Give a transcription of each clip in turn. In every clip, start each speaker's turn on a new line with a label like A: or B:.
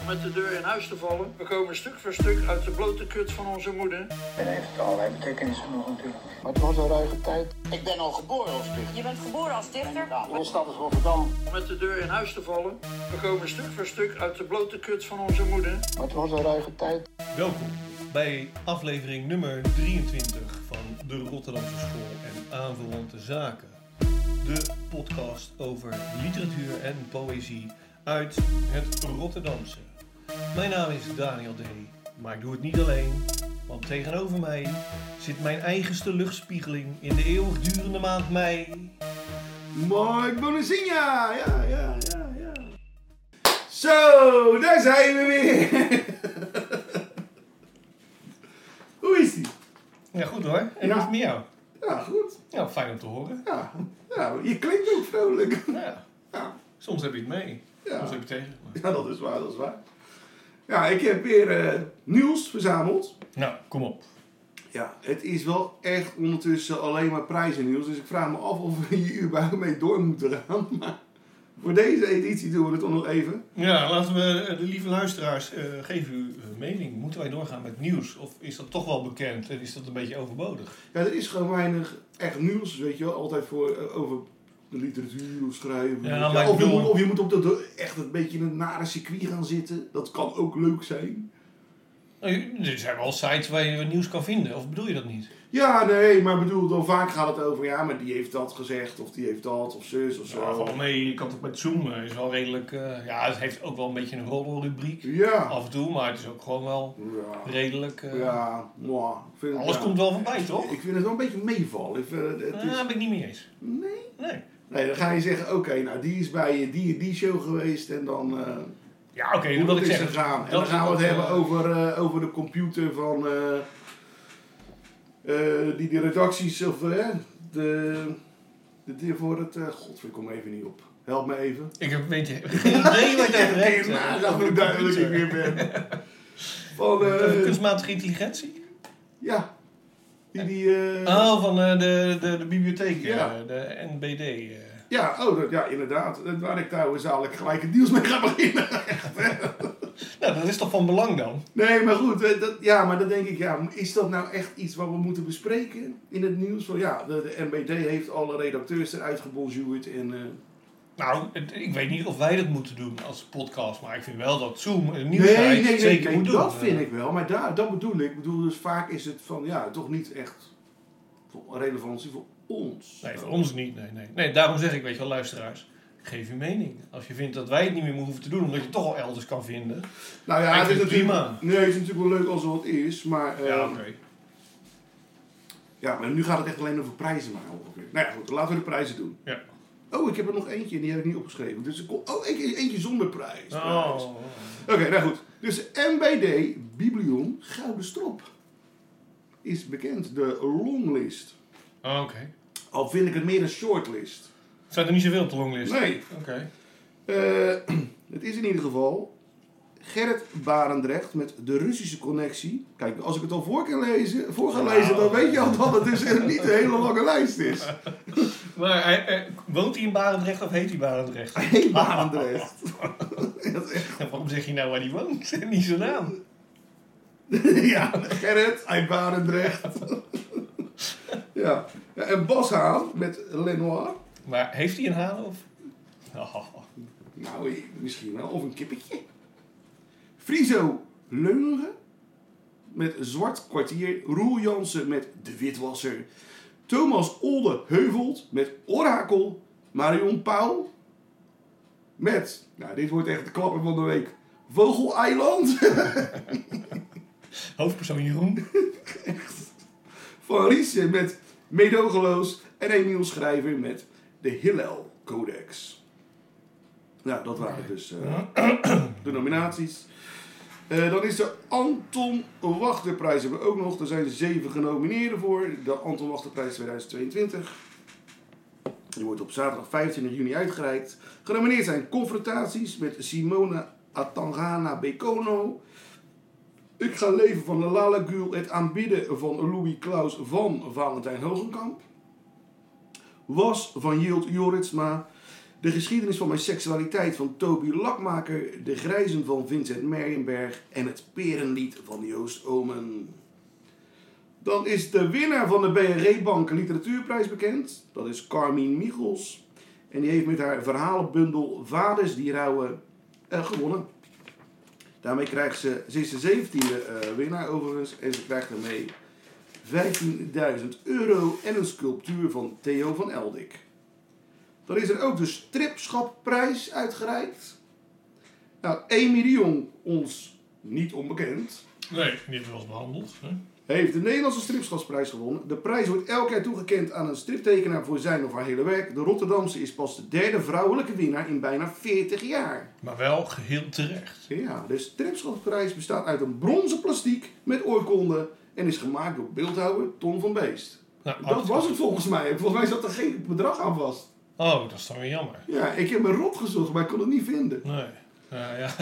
A: om met de deur in huis te vallen. We komen stuk voor stuk uit de blote kut van onze moeder.
B: En heeft allerlei betekenissen nog natuurlijk.
C: Maar het was een ruige tijd.
D: Ik ben al geboren als dichter.
E: Je bent geboren als dichter?
D: Nou, mijn stad is Rotterdam.
A: Om met de deur in huis te vallen. We komen stuk voor stuk uit de blote kut van onze moeder.
C: Maar het was een ruige tijd.
F: Welkom bij aflevering nummer 23 van de Rotterdamse School en aanverwante zaken. De podcast over literatuur en poëzie uit het Rotterdamse. Mijn naam is Daniel D. Maar ik doe het niet alleen, want tegenover mij zit mijn eigenste luchtspiegeling in de eeuwigdurende maand mei.
G: Mike Bonazinha! Ja, ja, ja, ja. Zo, daar zijn we weer. Hoe is die?
F: Ja, goed hoor. En hoe
G: Ja.
F: is het met jou?
G: Ja, goed.
F: Ja, fijn om te horen.
G: Ja, ja je klinkt ook vrolijk.
F: Nou ja,
G: Ja,
F: soms heb je het mee,
G: Ja.
F: soms heb je het tegen. maar-
G: ja, dat is waar, dat is waar. Ja, ik heb weer eh, nieuws verzameld.
F: Nou, kom op.
G: Ja, het is wel echt ondertussen alleen maar prijzennieuws. Dus ik vraag me af of we hier überhaupt mee door moeten gaan. Maar voor deze editie doen we het toch nog even.
F: Ja, laten we eh, de lieve luisteraars eh geven uw eh, mening. Moeten wij doorgaan met nieuws? Of is dat toch wel bekend en is dat een beetje overbodig?
G: Ja, er is gewoon weinig echt nieuws, weet je wel. Altijd voor, eh, over de literatuur of schrijven.
F: Ja,
G: Ja,
F: maar ik
G: of, je
F: bedoel-
G: moet, of je moet op dat echt een beetje in het nare circuit gaan zitten. Dat kan ook leuk zijn.
F: Nou, Er zijn wel sites waar je nieuws kan vinden, of bedoel je dat niet?
G: Ja, nee, maar bedoel, dan vaak gaat het over... Ja, maar die heeft dat gezegd, of die heeft dat, of zus, of zo.
F: Ja, van nee, je kan toch met Zoom eh, is wel redelijk. eh, ja, het heeft ook wel een beetje een rollenrubriek
G: Ja.
F: af en toe, maar het is ook gewoon wel
G: Ja.
F: redelijk. eh,
G: Ja, mwah. Ik vind het-
F: Alles
G: ja.
F: komt wel voorbij, toch? Eh,
G: Ik vind het wel een beetje meevallen. Ik vind het- het
F: Daar
G: is-
F: ben ik niet mee eens.
G: Nee.
F: Nee.
G: Nee, dan ga je zeggen, oké, nou, die is bij eh, die en die show geweest en dan... eh,
F: Ja, oké,
G: Hoe
F: dat wil
G: dat
F: ik
G: is
F: zeggen.
G: gegaan. En
F: dat
G: dan
F: is
G: gaan we het
F: ook,
G: hebben
F: eh,
G: over, eh, over de computer van... eh, eh, die de redacties of... eh, de, de, de- voor het... eh Godver, ik kom even niet op. Help me even.
F: Ik heb weet je, geen idee wat je over hebt. eh,
G: Ja,
F: over
G: dat
F: de
G: ik duidelijk
F: computer.
G: niet meer ben. Van... eh,
F: Over kunstmatige intelligentie?
G: ja. Die, die... eh,
F: Oh, van eh, de, de, de bibliotheek, eh,
G: Ja.
F: de NBD. eh.
G: Ja, oh, dat, ja, inderdaad. Dat- Waar ik trouwens dadelijk gelijk het nieuws mee ga beginnen.
F: Nou, dat is toch van belang dan?
G: Nee, maar goed, eh, dat, ja, maar dan denk ik, ja, is dat nou echt iets wat we moeten bespreken in het nieuws? Van ja, de, de NBD heeft alle redacteurs eruit gebonjourd en eh,
F: Nou, het- ik weet niet of wij dat moeten doen als podcast, maar ik vind wel dat Zoom een nieuws
G: nee, nee, nee,
F: zeker
G: nee,
F: moet doen.
G: dat vind
F: Eh,
G: ik wel. Maar daar, dat bedoel ik. Ik bedoel, dus vaak is het van, ja, toch niet echt voor relevantie voor ons.
F: Nee, voor ons niet. Nee, nee. nee, daarom zeg ik, weet je wel, luisteraars, geef je mening. Als je vindt dat wij het niet meer hoeven te doen, omdat je het toch al elders kan vinden.
G: Nou ja,
F: Ik
G: het is
F: vind het prima.
G: natuurlijk, Nee, het is natuurlijk wel leuk als er wat is, maar... eh, ja, maar nu gaat het echt alleen over prijzen maar ongeveer. Nou ja, goed, laten we de prijzen doen.
F: Ja.
G: Oh, ik heb er nog eentje en die heb ik niet opgeschreven. Dus ik kom, oh, eentje, eentje zonder prijs.
F: Oh.
G: Prijs. Oké, nou goed. Dus MBD Biblion Gouden Strop is bekend. De longlist.
F: Oh, Oké.
G: Al vind ik het meer een shortlist.
F: Zijn er niet zoveel op de longlist?
G: Nee.
F: Oké.
G: Eh, het is in ieder geval Gerrit Barendrecht met de Russische connectie. Kijk, als ik het al voor, kan lezen, voor ga lezen, dan weet je al dat het dus een niet een hele lange lijst is.
F: Maar hij, eh, woont hij in Barendrecht of heet hij Barendrecht?
G: Hey Barendrecht. Dat is echt-
F: En waarom zeg je nou waar hij woont en niet zijn naam?
G: ja, Gerrit, hey Barendrecht. ja. Ja, En Bas Haan met Lenoir.
F: Maar heeft hij een haan of? Oh.
G: Nou, misschien wel. Of een kippetje. Friso Leuneren met Zwart Kwartier. Roel Jansen met De Witwasser. Thomas Olde Heuvelt met Orakel. Marion Pauw met... Nou, dit wordt echt de klapper van de week. Vogeleiland
F: Hoofdpersoon Jeroen.
G: van Riesen met Medogeloos. En Emiel Schrijver met de Hillel Codex. Nou, dat waren dus... eh, de nominaties. Eh, dan is de Anton Wachterprijs hebben we ook nog. Er zijn zeven genomineerden voor. De Anton Wachterprijs 2022. Die wordt op zaterdag 25 juni uitgereikt. Genomineerd zijn Confrontaties met Simone Atangana Bekono. Ik ga leven van de Lalagul. Het aanbidden van Louis Klaus van Valentijn Hogenkamp. Was van Jilt Joritsma. De geschiedenis van mijn seksualiteit van Toby Lakmaker, De Grijzen van Vincent Meijenberg en Het Perenlied van Joost Omen. Dan is de winnaar van de BRE Bank Literatuurprijs bekend. Dat is Carmien Michels. En die heeft met haar verhalenbundel Vaders die rouwen eh, gewonnen. Daarmee krijgt ze, ze is de zeventiende e winnaar overigens. En ze krijgt daarmee 15.000 euro en een sculptuur van Theo van Eldik. Dan is er ook de stripschapprijs uitgereikt. Nou, Amy de Jong, ons niet onbekend,
F: Nee, die hebben we wel eens behandeld. Hè?
G: heeft de Nederlandse stripschapprijs gewonnen. De prijs wordt elk jaar toegekend aan een striptekenaar voor zijn of haar hele werk. De Rotterdamse is pas de derde vrouwelijke winnaar in bijna 40 jaar.
F: Maar wel geheel terecht.
G: Ja, de stripschapprijs bestaat uit een bronzen plastiek met oorkonde en is gemaakt door beeldhouwer Ton van Beest.
F: Nou,
G: Dat was het volgens mij. Volgens mij zat er geen bedrag aan vast.
F: Oh, dat is dan weer jammer.
G: Ja, ik heb mijn rot gezocht, maar ik kon het niet vinden.
F: Nee. Nou ja.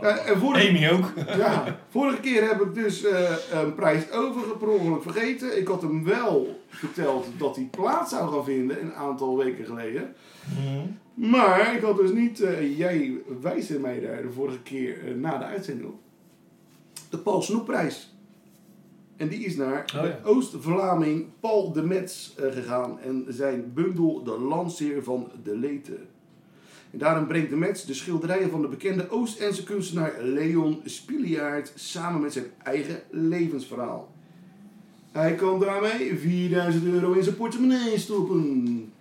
G: Ja, en vorige,
F: Amy ook.
G: ja, vorige keer heb ik dus eh, een prijs over per ongeluk vergeten. Ik had hem wel verteld dat hij plaats zou gaan vinden een aantal weken geleden. Maar ik had dus niet, eh, jij wijst mij daar de vorige keer eh, na de uitzending op, de Paul Snoepprijs. En die is naar
F: Oh,
G: de
F: ja.
G: Oost-Vlaming Paul de Metz eh, gegaan en zijn bundel De Lanceer van de Leten. En daarom brengt de Metz de schilderijen van de bekende Oost-Ense kunstenaar Leon Spiliaert samen met zijn eigen levensverhaal. Hij kan daarmee 4000 euro in zijn portemonnee stoppen.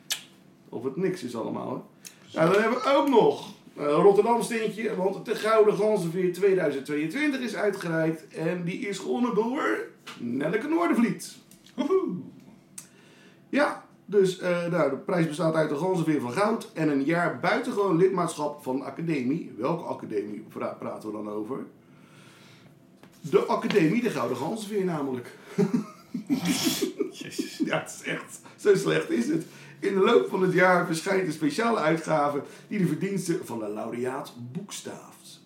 G: Of het niks is allemaal, hè? Nou, dan hebben we ook nog eh, een Rotterdam steentje, want de Gouden Ganzenveer 2022 is uitgereikt. En die is gewonnen door Nelleke Noordervliet.
F: Woehoe.
G: Ja, dus eh, nou, de prijs bestaat uit een ganzenveer van goud en een jaar buitengewoon lidmaatschap van de academie. Welke academie pra- praten we dan over? De academie, de Gouden Ganzenveer namelijk.
F: Jezus.
G: Ja, het is echt, zo slecht is het. In de loop van het jaar verschijnt een speciale uitgave die de verdiensten van de laureaat boekstaaft.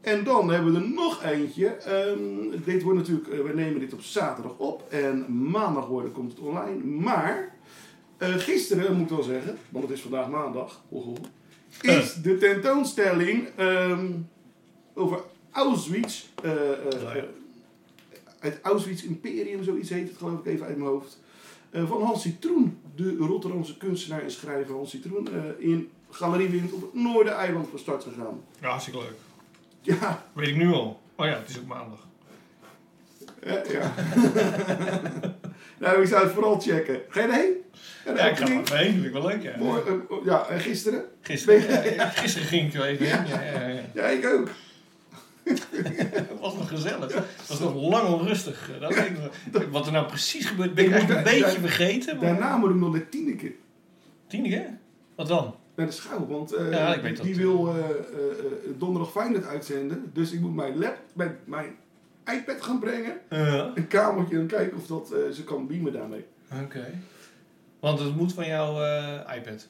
G: En dan hebben we er nog eentje. Ehm, dit wordt natuurlijk, eh, we nemen dit op zaterdag op en maandag worden, komt het online. Maar eh, gisteren, moet ik wel zeggen, want het is vandaag maandag, ho, ho, is
F: Eh.
G: de tentoonstelling ehm, over Auschwitz eh, eh,
F: Oh ja.
G: het Auschwitz Imperium, zoiets heet het geloof ik even uit mijn hoofd. Eh, van Hans Citroen, de Rotterdamse kunstenaar en schrijver Hans Citroen, eh, in Galerie Wind op het Noordereiland van start gegaan.
F: Ja, hartstikke leuk.
G: Ja,
F: Weet ik nu al. Oh ja, het is ook maandag.
G: eh, ja. nou, ik zou het vooral checken. Ga je erheen? Ja,
F: Ja, ik ga er even heen. Vind ik wel leuk, ja.
G: Mooi, eh, oh, ja, en gisteren?
F: Gisteren, ja, ja, gisteren ging ik er even heen. Ja, ja, ja.
G: Ja, ik ook.
F: Het was nog gezellig. Het was nog lang onrustig. eh, Dat weet ik nog. Wat er nou precies gebeurt, ben ik eigenlijk een
G: Daar-
F: beetje vergeten. Maar...
G: Daarna moet ik nog naar Tineke,
F: Tien hè? Wat dan?
G: naar de schouw, want eh,
F: Ja, ik weet dat.
G: die wil eh, eh, eh, donderdag Feyenoord uitzenden. Dus ik moet mijn lap, mijn, mijn iPad gaan brengen.
F: Eh,
G: een kamertje en kijken of dat, eh, ze kan beamen daarmee.
F: Oké. Want het moet van jouw eh, iPad. Want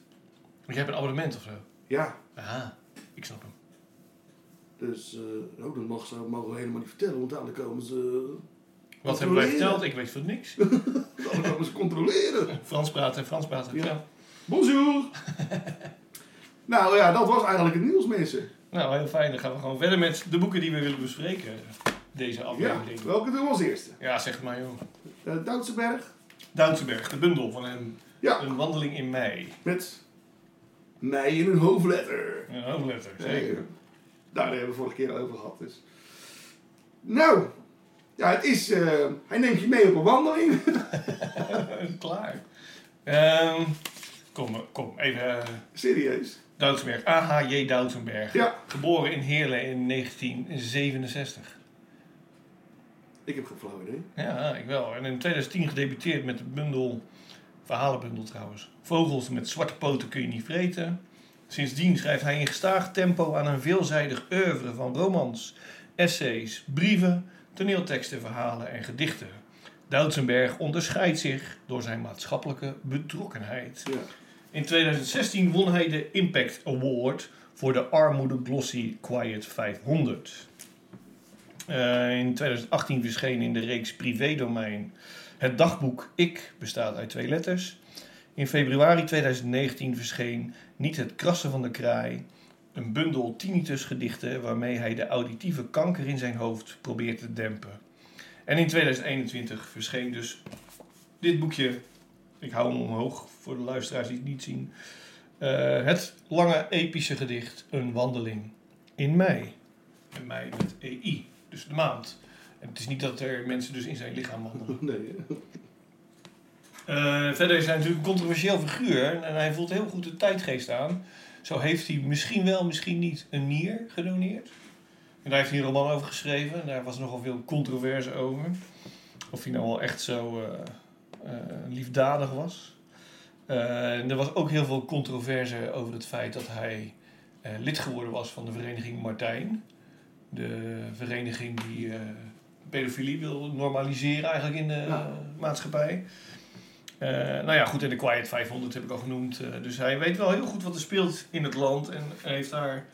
F: jij hebt een abonnement of zo.
G: Ja,
F: Aha, ik snap hem.
G: dus eh oh, dat mag ze, mogen we helemaal niet vertellen, want dadelijk komen ze,
F: Wat hebben wij
G: Controleren.
F: verteld? Ik weet van niks.
G: dadelijk komen ze controleren.
F: Frans praten, Frans praten.
G: Ja.
F: Ja.
G: Bonjour! nou ja, dat was eigenlijk het nieuws, mensen.
F: Nou, heel fijn. Dan gaan we gewoon verder met de boeken die we willen bespreken. Deze
G: Ja,
F: aflevering. Ja,
G: welke doen we als eerste?
F: zeg het maar joh.
G: Eh Doutsenberg
F: Duitsenberg, de bundel van hem.
G: Ja.
F: Een wandeling in mei.
G: met mij in een hoofdletter.
F: Een hoofdletter, zeker.
G: Nee, daar hebben we vorige keer al over gehad, dus. Nou, ja, het is, eh, hij neemt je mee op een wandeling.
F: Klaar. Ehm, kom, kom, even. eh,
G: Serieus.
F: Doutsenberg. A.H.J. Doutsenberg.
G: Ja.
F: Geboren in Heerlen in 1967.
G: Ik heb geen flauw idee.
F: Ja, ik wel. En in 2010 gedebuteerd met de bundel, verhalenbundel trouwens. Vogels met zwarte poten kun je niet vreten. Sindsdien schrijft hij in gestaag tempo aan een veelzijdig oeuvre van romans, essays, brieven, toneelteksten, verhalen en gedichten. Doutsenberg onderscheidt zich door zijn maatschappelijke betrokkenheid.
G: Ja.
F: In 2016 won hij de Impact Award voor de Armoede Glossy Quiet 500. Eh, in 2018 verscheen in de reeks Privé Domein het dagboek Ik, bestaat uit twee letters. In februari 2019 verscheen Niet het krassen van de kraai, een bundel tinnitus gedichten waarmee hij de auditieve kanker in zijn hoofd probeert te dempen. En in 2021 verscheen dus dit boekje. Ik hou hem omhoog voor de luisteraars die het niet zien. Eh, het lange epische gedicht Een wandeling in mei. En mei met EI, dus de maand. En het is niet dat er mensen dus in zijn lichaam wandelen.
G: Nee, hè?
F: Eh, verder is hij natuurlijk een controversieel figuur en hij voelt heel goed de tijdgeest aan. Zo heeft hij misschien wel, misschien niet een nier gedoneerd. En daar heeft hij een roman over geschreven en daar was nogal veel controverse over. Of hij nou wel echt zo eh, eh, liefdadig was. Eh, en er was ook heel veel controverse over het feit dat hij eh, lid geworden was van de vereniging Martijn. De vereniging die eh, pedofilie wil normaliseren eigenlijk in de
G: Ja.
F: maatschappij. Eh, nou ja, goed, en de Quiet 500 heb ik al genoemd. eh, dus hij weet wel heel goed wat er speelt in het land. En hij heeft daar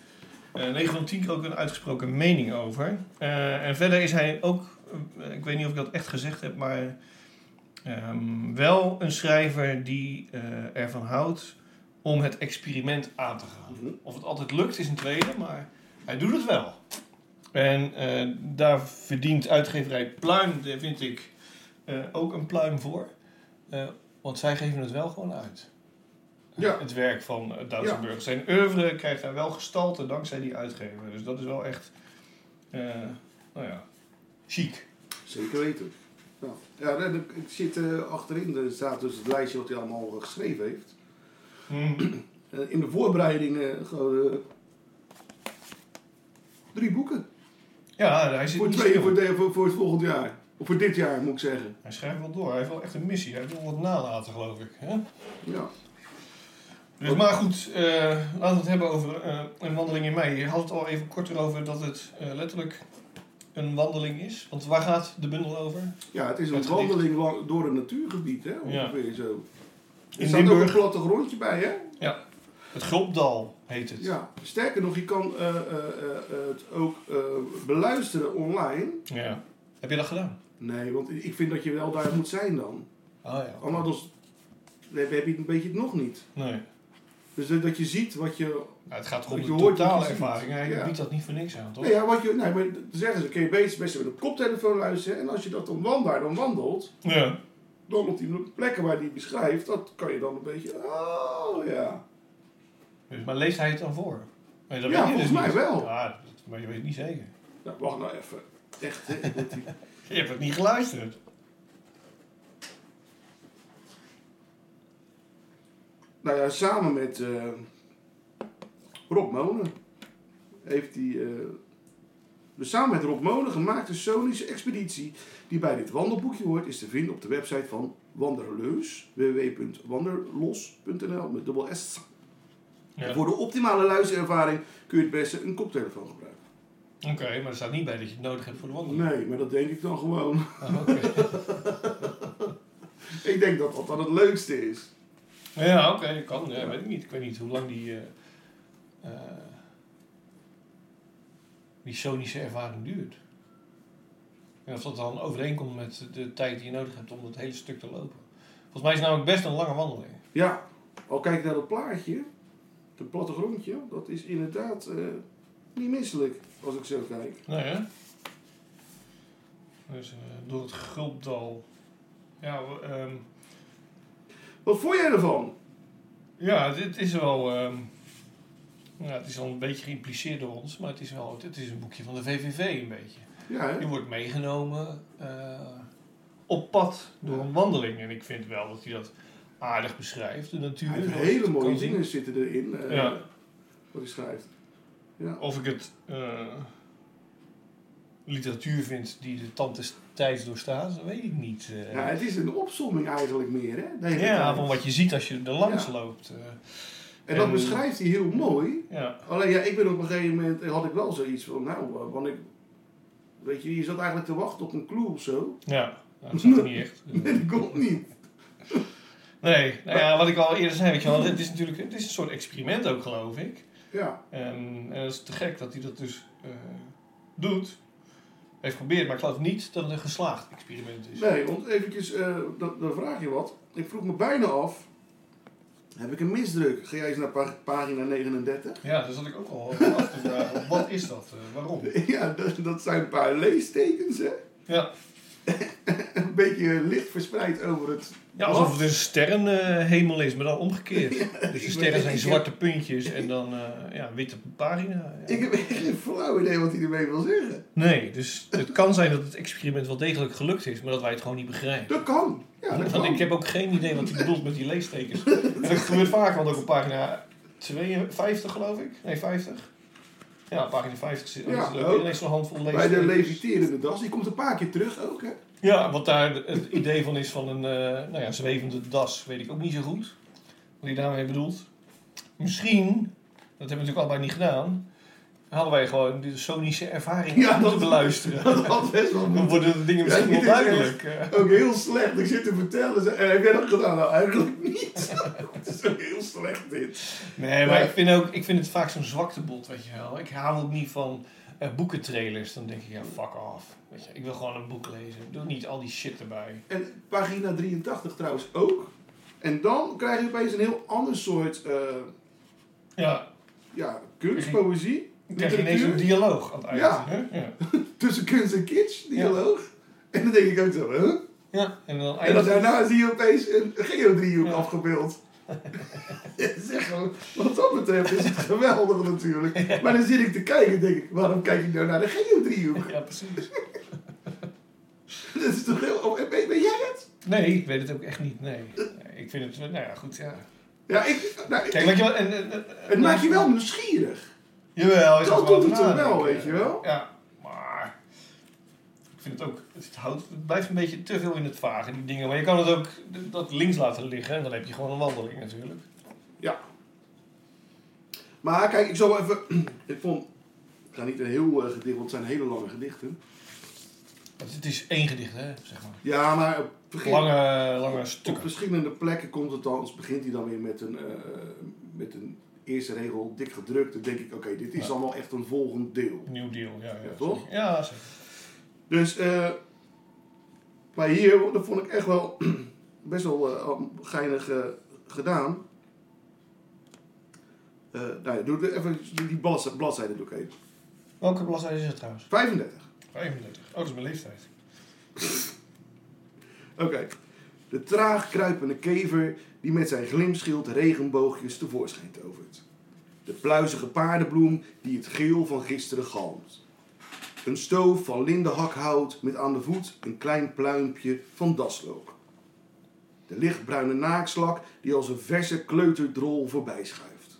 F: eh 9 van 10 keer ook een uitgesproken mening over. Eh, en verder is hij ook, eh, ik weet niet of ik dat echt gezegd heb, maar ehm, wel een schrijver die eh, ervan houdt om het experiment aan te gaan.
G: Mhm.
F: Of het altijd lukt is een tweede, maar hij doet het wel. En eh, daar verdient uitgeverij Pluim, daar vind ik, eh, ook een pluim voor. Eh, want zij geven het wel gewoon uit.
G: Ja.
F: Het werk van eh, Doutsenburg. Zijn oeuvre krijgt daar wel gestalte dankzij die uitgever. Dus dat is wel echt, eh, nou ja, chic.
G: Zeker weten. Nou, ja, nee, er- ik zit eh, achterin, er staat dus het lijstje wat hij allemaal eh, geschreven heeft.
F: Hmm.
G: Eh, in de voorbereiding eh, gewoon eh, drie boeken.
F: Ja, hij zit
G: Voor,
F: niet
G: twee,
F: stil.
G: voor, de- voor, voor het volgend jaar. Of voor dit jaar, moet ik zeggen.
F: Hij schrijft wel door. Hij heeft wel echt een missie. Hij wil wat nalaten, geloof ik. Hè?
G: Ja.
F: Dus, maar goed, eh, laten we het hebben over eh, een wandeling in mei. Je had het al even kort erover dat het eh, letterlijk een wandeling is. Want waar gaat de bundel over?
G: ja, het is een
F: Het gedicht.
G: wandeling lang- door een natuurgebied, hè? Ongeveer zo. Er
F: In
G: staat ook
F: Limburg.
G: een plattegrondje bij, hè?
F: Het Gulpdal heet het.
G: Ja. Sterker nog, je kan eh, eh, eh, het ook eh, beluisteren online.
F: Ja. Heb je dat gedaan?
G: Nee, want ik vind dat je wel daar moet zijn dan.
F: Ah ja.
G: Anders heb heb je het een beetje het nog niet.
F: Nee.
G: Dus dat dat je ziet wat je...
F: Ja, het gaat
G: Want
F: gewoon
G: je
F: om de
G: hoort
F: totale
G: wat je ziet.
F: ervaring. Hij
G: Ja.
F: biedt dat niet voor niks aan, toch?
G: Nee, Nou ja, wat je, nee maar dan zeggen ze, kun je best, best met een koptelefoon luisteren. En als je dat dan wandelt, dan wandelt,
F: Ja.
G: dan op die plekken waar die beschrijft, dat kan je dan een beetje... Oh, ja.
F: Dus, maar leest hij het dan voor? Nee, dat
G: Ja,
F: weet je
G: volgens
F: dus
G: mij
F: niet.
G: wel.
F: Ja, dat- maar je weet het niet zeker.
G: Nou, wacht nou even. Echt, hè? ik word hier-
F: Je hebt het niet geluisterd.
G: nou ja, samen met eh, Rob Monen heeft hij... eh, dus samen met Rob Monen gemaakte sonische expeditie die bij dit wandelboekje hoort, is te vinden op de website van Wanderleus, www.wanderlos.nl met dubbel S.
F: Ja.
G: En voor de optimale luisterervaring kun je het beste een koptelefoon gebruiken.
F: Oké, maar er staat niet bij dat je het nodig hebt voor de wandeling.
G: Nee, maar dat denk ik dan gewoon.
F: Ah, oké.
G: ik denk dat dat dan het leukste is.
F: Ja, oké, dat kan. Ja, weet ik niet. Ik weet niet hoe lang die... eh, eh, die sonische ervaring duurt. En of dat dan overeenkomt met de tijd die je nodig hebt om dat hele stuk te lopen. Volgens mij is het namelijk best een lange wandeling.
G: Ja, al kijk naar dat plaatje, dat plattegrondje, dat is inderdaad eh, niet misselijk als ik zo kijk.
F: Nou ja. Dus eh, door het Gulpdal. Ja, we, ehm,
G: Wat vond jij ervan?
F: ja dit is wel. ehm, ja, het is al een beetje geïmpliceerd door ons, maar het is wel. Het is een boekje van de VVV, een beetje.
G: Ja, hè?
F: Je wordt meegenomen eh, op pad door een wandeling. En ik vind wel dat hij dat aardig beschrijft, de natuur.
G: Hij heeft
F: zoals
G: hele
F: het
G: mooie
F: kan zien.
G: dingen zitten erin, eh,
F: Ja.
G: wat hij schrijft. Ja.
F: Of ik het eh, literatuur vind die de tand des tijds doorstaat, dat weet ik niet. eh.
G: ja, het is een opsomming eigenlijk meer, hè? de hele
F: Ja,
G: tijd.
F: van wat je ziet als je er langs
G: Ja.
F: loopt. eh,
G: En dat
F: en-
G: beschrijft hij heel mooi.
F: ja.
G: Alleen ja, ik ben op een gegeven moment, had ik wel zoiets van, nou, eh, want ik, weet je, je zat eigenlijk te wachten op een clue of zo.
F: ja, nou, dat zag ik niet echt.
G: En die komt niet.
F: Nee, nou ja, wat ik al eerder zei, weet je wel, het is natuurlijk het is een soort experiment ook, geloof ik.
G: Ja,
F: En, en het is te gek dat hij dat dus eh, doet. Heeft geprobeerd, maar ik geloof niet dat het een geslaagd experiment is.
G: nee, want eventjes, eh, dan, dan vraag je wat. Ik vroeg me bijna af Heb ik een misdruk? Ga jij eens naar pa- pagina 39?
F: Ja, daar zat ik ook al af te vragen. Wat is dat? Eh, waarom?
G: Ja, dat, dat zijn een paar leestekens, hè?
F: Ja.
G: Een beetje licht verspreid over het
F: ja, alsof het een sterrenhemel is, maar dan omgekeerd. dus de sterren zijn zwarte puntjes en dan eh, ja, witte pagina. Ja.
G: Ik heb echt geen flauw idee wat hij ermee wil zeggen.
F: Nee, dus het kan zijn dat het experiment wel degelijk gelukt is, maar dat wij het gewoon niet begrijpen.
G: Dat kan. Ja, dat
F: Want
G: kan.
F: ik heb ook geen idee wat hij bedoelt met die leestekens. En dat gebeurt vaak, want ook op pagina 52 geloof ik. Nee, 50. Ja, op pagina 50 zit
G: Ja,
F: ja,
G: ook.
F: ineens zo'n handvol
G: Bij de
F: leestekens.
G: leviterende das. Die komt een paar keer terug ook, hè?
F: Ja, wat daar het idee van is van een eh, nou ja, zwevende das, weet ik ook niet zo goed. Wat hij daarmee bedoelt. Misschien, dat hebben we natuurlijk allebei niet gedaan, hadden wij gewoon de sonische ervaring
G: Ja,
F: moeten
G: dat-
F: beluisteren.
G: Dat had best wel
F: Dan
G: moeten.
F: worden de dingen
G: Ja,
F: misschien wel
G: dit is
F: duidelijk. eh.
G: Ook heel slecht. Ik zit te vertellen. ze- En heb jij dat gedaan? Nou, eigenlijk niet. Het is ook heel slecht dit.
F: Nee, maar
G: Ja.
F: ik vind, ook, ik vind het vaak zo'n zwaktebod, weet je wel. Ik hou ook niet van eh, boekentrailers. Dan denk ik, ja, fuck off. Weet je, ik wil gewoon een boek lezen. Doe niet al die shit erbij.
G: En pagina 83 trouwens ook. En dan krijg je opeens een heel ander soort eh,
F: Ja,
G: ja, kunst, poëzie.
F: dan krijg je ineens een
G: literatuur.
F: dialoog aan het eind.
G: Ja.
F: hè? Ja.
G: Tussen kunst en kitsch, dialoog. En dan denk ik ook zo, huh?
F: ja, en dan
G: En dan
F: eindigt het-
G: daarna zie je opeens een geodriehoek
F: Ja.
G: afgebeeld. zeg gewoon, wat dat betreft is het geweldig natuurlijk. Maar dan zit ik te kijken en denk ik, waarom kijk ik nou naar de geodriehoek?
F: Ja, precies.
G: Dat is toch heel... Oh, Ben, ben jij het?
F: Nee, ik weet het ook echt niet. Nee. Nee, Ik vind het, eh, nou ja, goed, ja.
G: Ja, ik... Nou, ik-
F: Kijk, weet je wel... En, en, en-
G: het maakt je wel nieuwsgierig.
F: Jawel, is
G: Dat
F: er gewoon
G: doet
F: over
G: het er wel,
F: nadenken.
G: weet je wel?
F: Ja, maar ik vind het ook, het, houdt, het blijft een beetje te veel in het vage, die dingen. Maar je kan het ook d- dat links laten liggen en dan heb je gewoon een wandeling natuurlijk.
G: Ja. Maar kijk, ik zal wel even... ik vond... Ik ga niet een heel eh, gedicht, want het zijn hele lange gedichten.
F: Want het is één gedicht, hè, zeg maar.
G: Ja, maar eh, op, begin-
F: Lange, lange
G: op
F: stukken.
G: verschillende plekken komt het dan... Begint hij dan weer met een... eh, met een eerste regel dik gedrukt. Dan denk ik, oké, dit is
F: Ja.
G: dan wel echt een volgend deel.
F: Nieuw deal, ja. Ja,
G: Ja, toch?
F: zeker. Ja, zeker.
G: Dus, eh, maar hier, dat vond ik echt wel best wel eh, geinig eh, gedaan. Eh, nou ja, doe even die bladzijde, bladzijde doe ik even.
F: Welke bladzijde is het trouwens?
G: 35.
F: 35. Oh, dat is mijn leeftijd.
G: Oké. De traag kruipende kever die met zijn glimschild regenboogjes tevoorschijn tovert. De pluizige paardenbloem die het geel van gisteren galmt. Een stoof van lindehakhout met aan de voet een klein pluimpje van daslook. De lichtbruine naakslak die als een verse kleuterdrol voorbij schuift.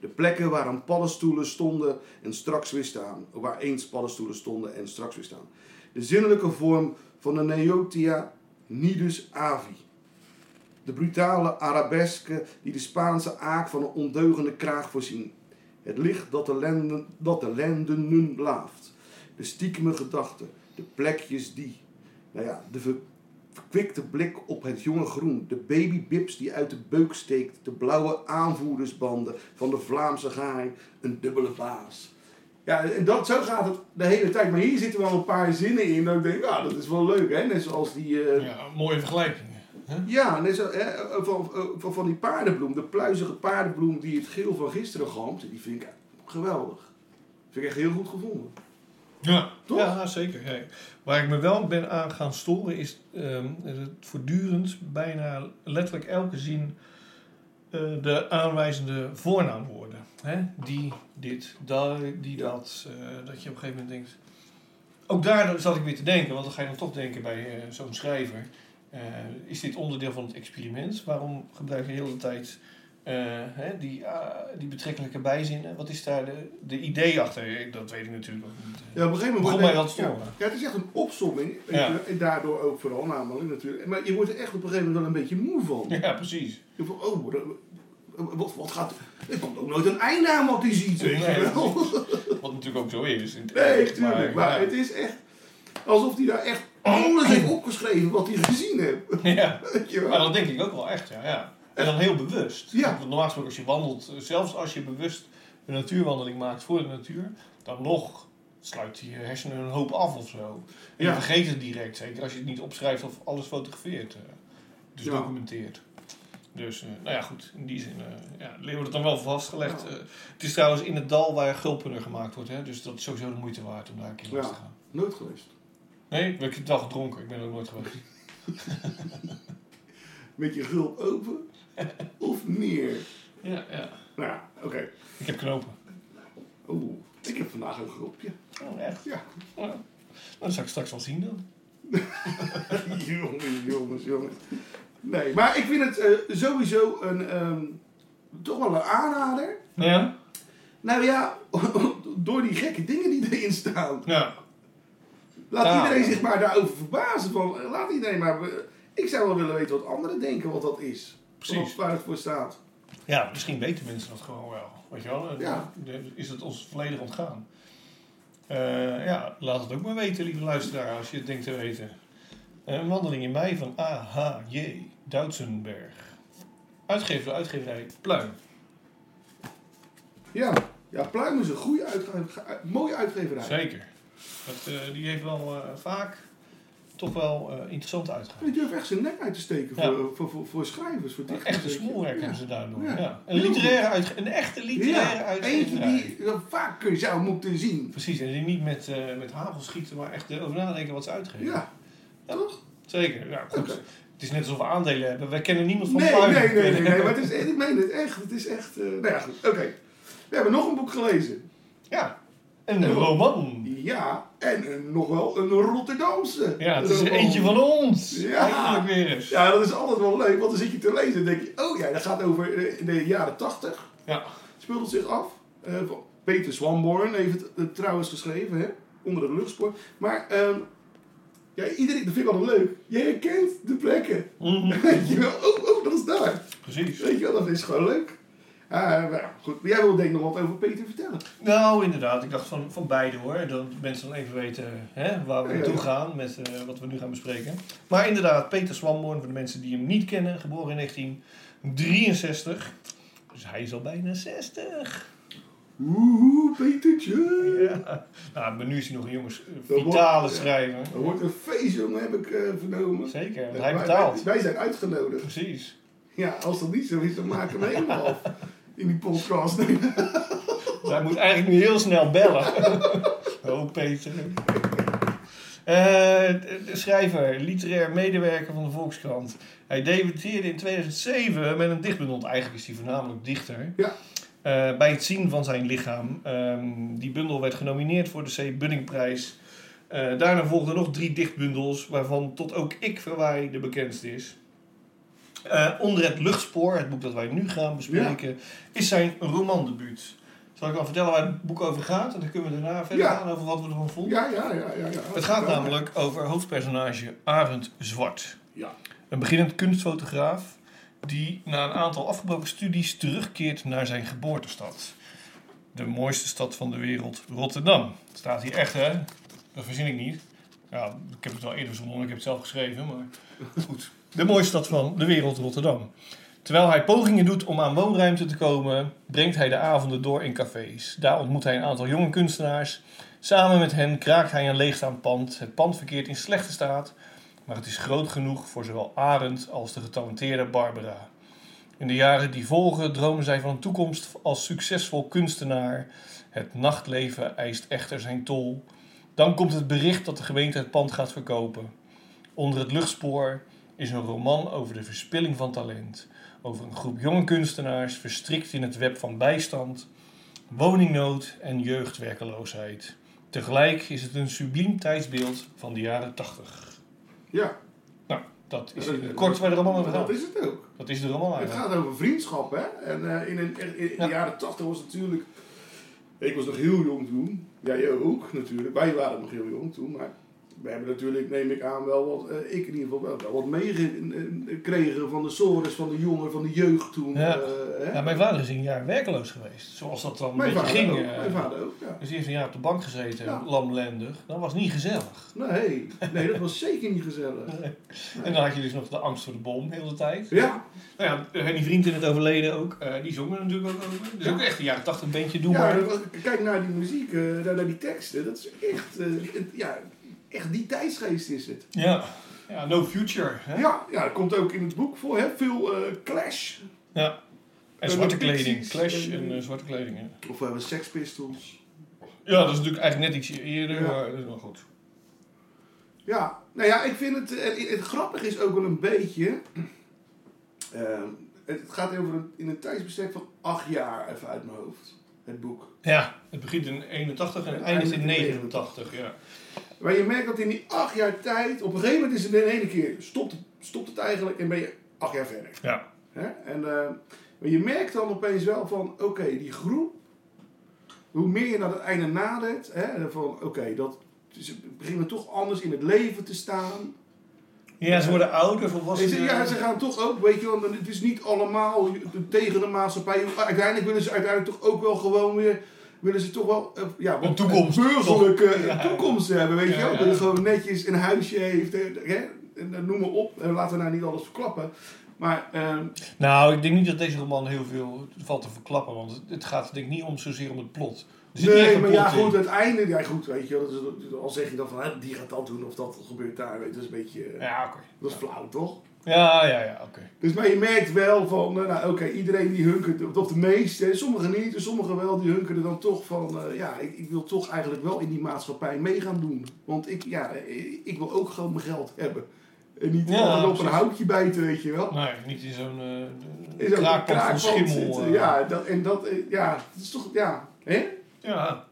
G: De plekken waar een paddenstoelen stonden en straks weer staan. Waar eens paddenstoelen stonden en straks weer staan. De zinnelijke vorm van de Neotia nidus avi. De brutale arabeske die de Spaanse aak van een ondeugende kraag voorzien. Het licht dat de, lenden, dat de lendenen laaft. De stiekeme gedachten, de plekjes die. Nou ja, de ver- verkwikte blik op het jonge groen. De babybips die uit de beuk steekt. De blauwe aanvoerdersbanden van de Vlaamse gaai. Een dubbele baas. Ja, en dat, zo gaat het de hele tijd. Maar hier zitten wel een paar zinnen in. Dat ik denk, ja, dat is wel leuk. Hè? Net zoals die... eh,
F: Ja, mooie vergelijking. hè?
G: ja, net zo, hè, eh, van, van, van die paardenbloem, de pluizige paardenbloem die het geel van gisteren galmt, die vind ik geweldig. Vind ik echt heel goed gevonden.
F: Ja,
G: Toch?
F: Ja, zeker. Ja. Waar ik me wel ben aan gaan storen is ehm, het voortdurend bijna letterlijk elke zin eh, de aanwijzende voornaamwoorden. Hè? Die, dit, da, die, dat. eh, dat je op een gegeven moment denkt. Ook daar zat ik weer te denken, want dan ga je dan toch denken bij eh, zo'n schrijver. eh, is dit onderdeel van het experiment? Waarom gebruik je de hele tijd eh, hè, die, ah, die betrekkelijke bijzinnen? Wat is daar de, de idee achter? Ik- Dat weet ik natuurlijk ook niet.
G: Ja, op een gegeven moment...
F: Begon
G: wordt-
F: mij wel te storen.
G: Ja, ja, het is echt een opsomming. weet
F: Ja.
G: je, En daardoor ook vooral namelijk natuurlijk. Maar je wordt er echt op een gegeven moment wel een beetje moe van.
F: Ja, precies.
G: Je van, oh, dat- wat, wat gaat... Er komt ook nooit een einde aan wat hij ziet, weet
F: Nee,
G: je wel.
F: Wat natuurlijk ook zo is. in het
G: Nee,
F: echt,
G: tuurlijk. Maar,
F: ja.
G: het is echt alsof hij daar echt alles heeft opgeschreven wat hij gezien heeft.
F: Ja,
G: Weet je wel.
F: maar dat denk ik ook wel echt, ja. ja. En dan heel bewust.
G: Ja.
F: Want normaal gesproken als je wandelt, eh, zelfs als je bewust een natuurwandeling maakt voor de natuur, dan nog sluit je hersenen een hoop af of zo. En je
G: Ja.
F: vergeet het direct, zeker als je het niet opschrijft of alles fotografeert. eh, Dus
G: Ja.
F: documenteert. Dus, eh, nou ja, goed, in die zin eh ja, wordt het dan wel vastgelegd. Eh, het is trouwens in het dal waar Gulpener gemaakt wordt, hè, dus dat is sowieso de moeite waard om daar een keer langs te
G: Ja.
F: gaan.
G: Nooit geweest.
F: Nee, ik heb wel gedronken, ik ben er ook nooit geweest.
G: Met je gulp open of neer.
F: Ja, ja.
G: Nou ja, oké.
F: Ik heb knopen.
G: Oeh, ik heb vandaag een gulpje.
F: Oh, echt?
G: Ja.
F: Nou, dan zal ik straks wel zien dan.
G: jongens, jongens, jongens. Nee, maar ik vind het eh, sowieso een, ehm, toch wel een aanrader.
F: Ja?
G: Nou ja, door die gekke dingen die erin staan.
F: Ja.
G: Laat
F: Ja.
G: iedereen zich maar daarover verbazen. Van, eh, laat iedereen maar... be- Ik zou wel willen weten wat anderen denken wat dat is.
F: Precies.
G: Of Waar het voor staat.
F: ja, misschien weten mensen dat gewoon wel. Weet je wel, eh,
G: Ja.
F: de- is het ons volledig ontgaan. Eh, ja, laat het ook maar weten, lieve luisteraar, als je het denkt te weten. Eh, een wandeling in mei van AHJ Duitsenberg. Uitgever, uitgeverij Pluim.
G: Ja, ja Pluim is een goede uitge- ge- mooie uitgeverij.
F: Zeker. Dat, eh, die heeft wel eh, vaak toch wel eh, interessante uitgaven.
G: Die durft echt zijn nek uit te steken
F: Ja.
G: voor, voor, voor, voor schrijvers, voor dichters.
F: Echte
G: weet je.
F: smoelwerk
G: Ja.
F: hebben ze daardoor.
G: Ja.
F: Ja. Een,
G: Heel
F: literaire uitge- een echte literaire
G: Ja, eentje
F: uitgeverij.
G: die je vaker zou moeten zien.
F: Precies, en die niet met, eh met hagel schieten, maar echt over nadenken wat ze uitgeven.
G: Ja,
F: Ja.
G: toch?
F: Zeker, ja, goed.
G: Oké.
F: Het is net alsof we aandelen hebben. Wij kennen niemand van
G: Nee, nee,
F: Pluim.
G: nee, nee, nee, maar het is, ik meen het echt. Het is echt, eh, nou ja, goed, oké. We hebben nog een boek gelezen.
F: Ja, een roman.
G: Ja, en een- nog wel een Rotterdamse.
F: Ja, het is er
G: roman.
F: eentje van ons.
G: Ja.
F: Eindelijk weer eens.
G: Ja, dat is altijd wel leuk, want dan zit je te lezen en denk je, oh ja, dat gaat over eh, in de jaren tachtig.
F: Ja.
G: Speelt het zich af. Eh, van Peter Swanborn heeft het eh, trouwens geschreven, hè? onder het luchtspoor. Maar ehm, ja, iedereen, dat vind ik altijd leuk. Je herkent de plekken.
F: Mhm.
G: Weet je wel, oh, oh, dat is daar.
F: Precies.
G: Weet je wel, dat is gewoon leuk. Ah, maar ja, goed. Maar jij wil denk ik nog wat over Peter vertellen.
F: Nou, inderdaad. Ik dacht van, van beide hoor. Dat mensen dan even weten hè, waar we
G: Ja,
F: naartoe
G: ja.
F: gaan met eh, wat we nu gaan bespreken. Maar inderdaad, Peter Swanborn, voor de mensen die hem niet kennen, geboren in 1963. Dus hij is al bijna 60.
G: Oeh, Petertje.
F: Ja. Nou, maar nu is hij nog een jongens,
G: Dat wordt-
F: vitale
G: ja.
F: schrijver.
G: Er wordt een feest, jongen, heb ik eh, vernomen.
F: Zeker, want hij
G: Wij-
F: betaalt.
G: Wij, wij zijn uitgenodigd.
F: Precies.
G: Ja, als dat niet zo is, dan maken we hem helemaal af. In die podcast. Nee,
F: Dus hij moet eigenlijk nu heel snel bellen. oh, Peter. Eh, de- de schrijver, literair medewerker van de Volkskrant. Hij debuteerde in 2007 met een dichtbundel. Eigenlijk is hij voornamelijk dichter.
G: Ja.
F: Eh, bij het zien van zijn lichaam. Ehm, die bundel werd genomineerd voor de C. Buddingprijs. Eh, daarna volgden nog drie dichtbundels, waarvan tot ook ik verwaai de bekendste is. Eh, onder het luchtspoor, het boek dat wij nu gaan bespreken, is zijn romandebuut. Zal ik dan vertellen waar het boek over gaat? En dan kunnen we daarna verder
G: Ja.
F: gaan over wat we ervan vonden.
G: Ja, ja, ja, ja. ja.
F: Het gaat namelijk over hoofdpersonage Arend Zwart.
G: Ja.
F: Een beginnend kunstfotograaf die na een aantal afgebroken studies terugkeert naar zijn geboortestad. De mooiste stad van de wereld, Rotterdam. Staat hier echt, hè? Dat verzin ik niet. Ja, ik heb het wel eerder verzonnen, ik heb het zelf geschreven, maar goed. De mooiste stad van de wereld, Rotterdam. Terwijl hij pogingen doet om aan woonruimte te komen, brengt hij de avonden door in cafés. Daar ontmoet hij een aantal jonge kunstenaars. Samen met hen kraakt hij een leegstaand pand. Het pand verkeert in slechte staat, maar het is groot genoeg voor zowel Arend als de getalenteerde Barbara. In de jaren die volgen dromen zij van een toekomst als succesvol kunstenaar. Het nachtleven eist echter zijn tol. Dan komt het bericht dat de gemeente het pand gaat verkopen. Onder het luchtspoor is een roman over de verspilling van talent. Over een groep jonge kunstenaars verstrikt in het web van bijstand, woningnood en jeugdwerkeloosheid. Tegelijk is het een subliem tijdsbeeld van de jaren 80.
G: Ja,
F: Nou, dat is in het kort waar de roman over
G: dat
F: gaat.
G: is het ook.
F: Dat is de roman
G: Het
F: eigenlijk.
G: gaat over vriendschap, hè? En eh, in, een, in, in
F: Ja.
G: de jaren tachtig was het natuurlijk. Ik was nog heel jong toen. Ja, jij ook natuurlijk. Wij waren nog heel jong toen. Maar we hebben natuurlijk, neem ik aan, wel wat. eh, ik in ieder geval wel, wel wat meegekregen van de sores, van de jongen, van de jeugd toen.
F: Ja.
G: eh, hè?
F: Ja, mijn vader is een jaar werkeloos geweest. Zoals dat dan een
G: mijn,
F: beetje
G: vader
F: ging.
G: ook,
F: eh.
G: mijn vader ook, ja.
F: Dus die heeft een jaar op de bank gezeten,
G: Ja.
F: lamlendig. Dat was niet gezellig.
G: Nee, Nou, nee, dat was zeker niet gezellig.
F: En dan had je dus nog de angst voor de bom de hele tijd.
G: Ja,
F: Nou ja, die vriend in het overleden ook, eh, die zong er natuurlijk ook over. Dus ook echt een jaren tachtig bandje, doe
G: ja
F: maar.
G: dat was- kijk naar die muziek, eh, naar, naar die teksten. Dat is echt, eh, het- ja, echt die tijdsgeest is het.
F: Ja, Ja, no future. Hè?
G: Ja, ja, dat komt ook in het boek voor. Hè? Veel eh, clash.
F: Ja. En
G: En
F: zwarte
G: de Pixies.
F: kleding. Clash
G: En-
F: en eh, zwarte kleding. Ja.
G: Of we hebben Sex Pistols.
F: ja, dat is natuurlijk eigenlijk net iets eerder,
G: Ja.
F: maar dat is wel goed.
G: Ja, nou ja, ik vind het... eh, het grappige is ook wel een beetje... ehm, het, het gaat over een, in een tijdsbestek van acht jaar, even uit mijn hoofd. Het boek.
F: Ja, het begint in 81 en het eindigt in 89. Ja.
G: Maar je merkt dat in die acht jaar tijd... Op een gegeven moment is het in één keer... Stopt, stopt het eigenlijk en ben je acht jaar verder.
F: ja.
G: Hè? En, eh, maar je merkt dan opeens wel van, oké, die groep, hoe meer je naar het einde nadert, hè, en van oké, dat ze beginnen toch anders in het leven te staan.
F: Ja, ze worden ouder,
G: En
F: volwassenen.
G: ze, ja, ze gaan toch ook, weet je wel, het is niet allemaal tegen de maatschappij. Uiteindelijk willen ze uiteindelijk toch ook wel gewoon weer, willen ze toch wel, eh, ja, wat
F: Een toekomst,
G: burgerlijke eh,
F: toch? Ja.
G: toekomst hebben, weet je
F: Ja,
G: wel.
F: ja.
G: Dat je gewoon netjes een huisje heeft, eh, hè, en, eh, noem maar op. En laten we nou niet alles verklappen. Maar ehm,
F: Nou, ik denk niet dat deze roman heel veel valt te verklappen, want het- het gaat denk ik niet om zozeer om het plot. Er zit niet echt
G: Nee,
F: een
G: maar ja,
F: plot in.
G: goed, uiteindelijk, ja, goed, weet je, wel, dat is, al zeg je dan van, hè, die gaat dat doen of dat gebeurt daar, weet je, dat is een beetje, eh,
F: Ja, oké.
G: dat is flauw, toch?
F: Ja, ja, ja, oké.
G: Dus, maar je merkt wel van, eh, nou, oké, iedereen die hunkert, of de meeste, hè, sommigen niet, en sommigen wel, die hunkeren dan toch van, eh, ja, ik, ik wil toch eigenlijk wel in die maatschappij mee gaan doen. Want ik, ja, eh, ik wil ook gewoon mijn geld hebben. En niet
F: Ja,
G: altijd op een
F: precies.
G: houtje bijten, weet je wel.
F: Nee, niet in zo'n eh,
G: In zo'n
F: kraakpand van
G: kraakpand
F: schimmel.
G: zitten,
F: eh.
G: Ja, dat, en dat, eh, ja, dat is toch, ja, hè?
F: Ja,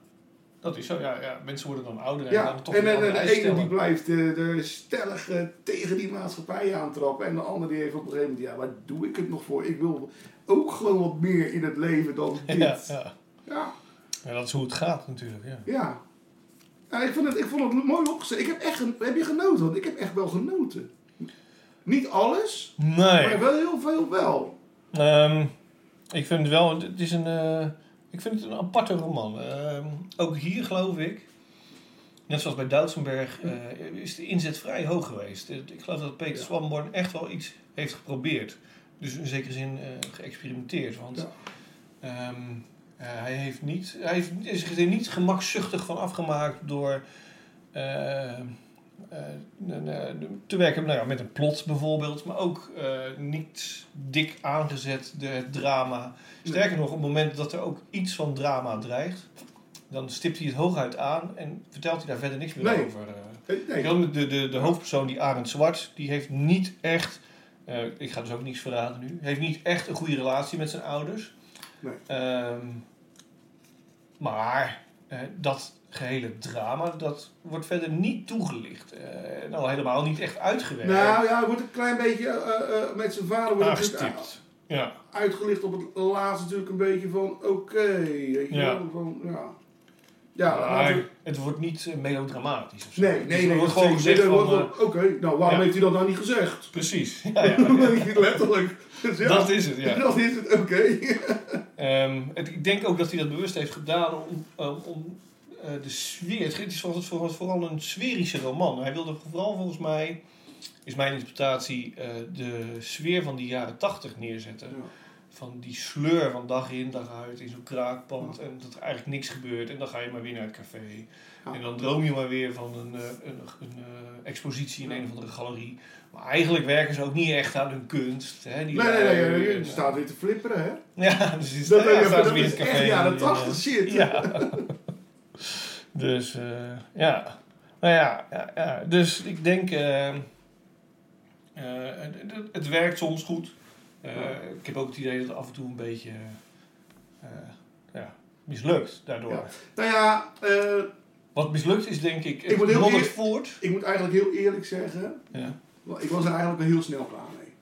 F: dat is zo. Ja, ja. Mensen worden dan ouder en
G: Ja,
F: gaan toch
G: en,
F: weer
G: en, en
F: andere
G: de
F: eisen
G: ene die
F: stellen.
G: blijft eh, er stellig eh, tegen die maatschappij aantrappen. En de andere die heeft op een gegeven moment, ja, waar doe ik het nog voor? Ik wil ook gewoon wat meer in het leven dan dit.
F: Ja,
G: Ja,
F: ja.
G: ja.
F: ja, dat is hoe het gaat natuurlijk. Ja.
G: Ja, ik, vond het, ik vond het mooi opgezet. Ik heb echt, gen- heb je genoten? Want ik heb echt wel genoten. Niet alles,
F: Nee,
G: maar wel heel veel wel.
F: ehm, ik vind het wel, het is een, eh, ik vind het een aparte roman. Ehm, ook hier geloof ik, net zoals bij Duitsenberg, eh, is de inzet vrij hoog geweest. Eh, Ik geloof dat Peter
G: Ja.
F: Swanborn echt wel iets heeft geprobeerd. Dus in zekere zin eh, geëxperimenteerd. Want
G: Ja.
F: ehm, eh, hij, heeft niet, hij heeft, is er niet gemakzuchtig van afgemaakt door eh, eh, n- n- te werken nou ja, met een plot bijvoorbeeld, maar ook eh, niet dik aangezet de, het drama. Sterker nog, op het moment dat er ook iets van drama dreigt, dan stipt hij het hooguit aan en vertelt hij daar verder niks meer
G: Nee.
F: over. eh.
G: Eh,
F: Kijk,
G: Nee,
F: dan de, de, de hoofdpersoon, die Arend Zwart, die heeft niet echt, eh, ik ga dus ook niks verraden nu, heeft niet echt een goede relatie met zijn ouders.
G: Nee.
F: Ehm, maar eh, dat gehele drama, dat wordt verder niet toegelicht. Eh, nou, helemaal niet echt uitgewerkt.
G: nou ja, het wordt een klein beetje eh, eh, met zijn vader wordt het
F: aangestipt. Ja.
G: uitgelicht op het laatste natuurlijk een beetje van oké, weet je
F: Ja. Ah,
G: wel, van ja. Ja,
F: maar
G: laten we-
F: het wordt niet eh, melodramatisch. of zo.
G: nee,
F: Dus
G: nee,
F: er
G: nee.
F: wordt
G: dat
F: gewoon
G: zeg ik
F: gezegd
G: niet.
F: van...
G: Nee,
F: eh,
G: dat wordt- Oké, nou waarom
F: ja.
G: heeft u dat nou niet gezegd?
F: precies. Ja, ja, ja.
G: Letterlijk. Dus ja,
F: Dat is het, ja.
G: dat is het, oké.
F: Ehm, het, ik denk ook dat hij dat bewust heeft gedaan om, om, om, eh, de sfeer. Het is vooral, vooral, vooral een sferische roman. Hij wilde vooral volgens mij, is mijn interpretatie, eh, de sfeer van die jaren tachtig neerzetten.
G: Ja.
F: Van die sleur van dag in, dag uit in zo'n kraakpand. En dat er eigenlijk niks gebeurt. En dan ga je maar weer naar het café.
G: Ja.
F: En dan droom je maar weer van een, eh, een, een eh, expositie in een of andere galerie. Maar eigenlijk werken ze ook niet echt aan hun kunst. Hè, die
G: Nee, nee, nee,
F: lui.
G: nee, je
F: En, eh,
G: staat weer te flipperen, hè?
F: ja, dus is,
G: Dat, nou
F: ja,
G: ja,
F: staat
G: dat
F: weer in
G: is
F: het café.
G: echt jaren
F: en,
G: 80 shit.
F: eh, ja. dus, eh, ja. Nou ja, ja, ja. Dus ik denk... eh, eh, het, het- het werkt soms goed. Eh, Ik heb ook het idee dat het af en toe een beetje... eh, ja, mislukt daardoor.
G: Ja. Nou ja, eh,
F: Wat mislukt is denk ik...
G: Ik moet heel
F: Robert
G: eer-
F: Ford.
G: ik moet eigenlijk heel eerlijk zeggen,
F: Ja.
G: ik was er eigenlijk al heel snel klaar mee.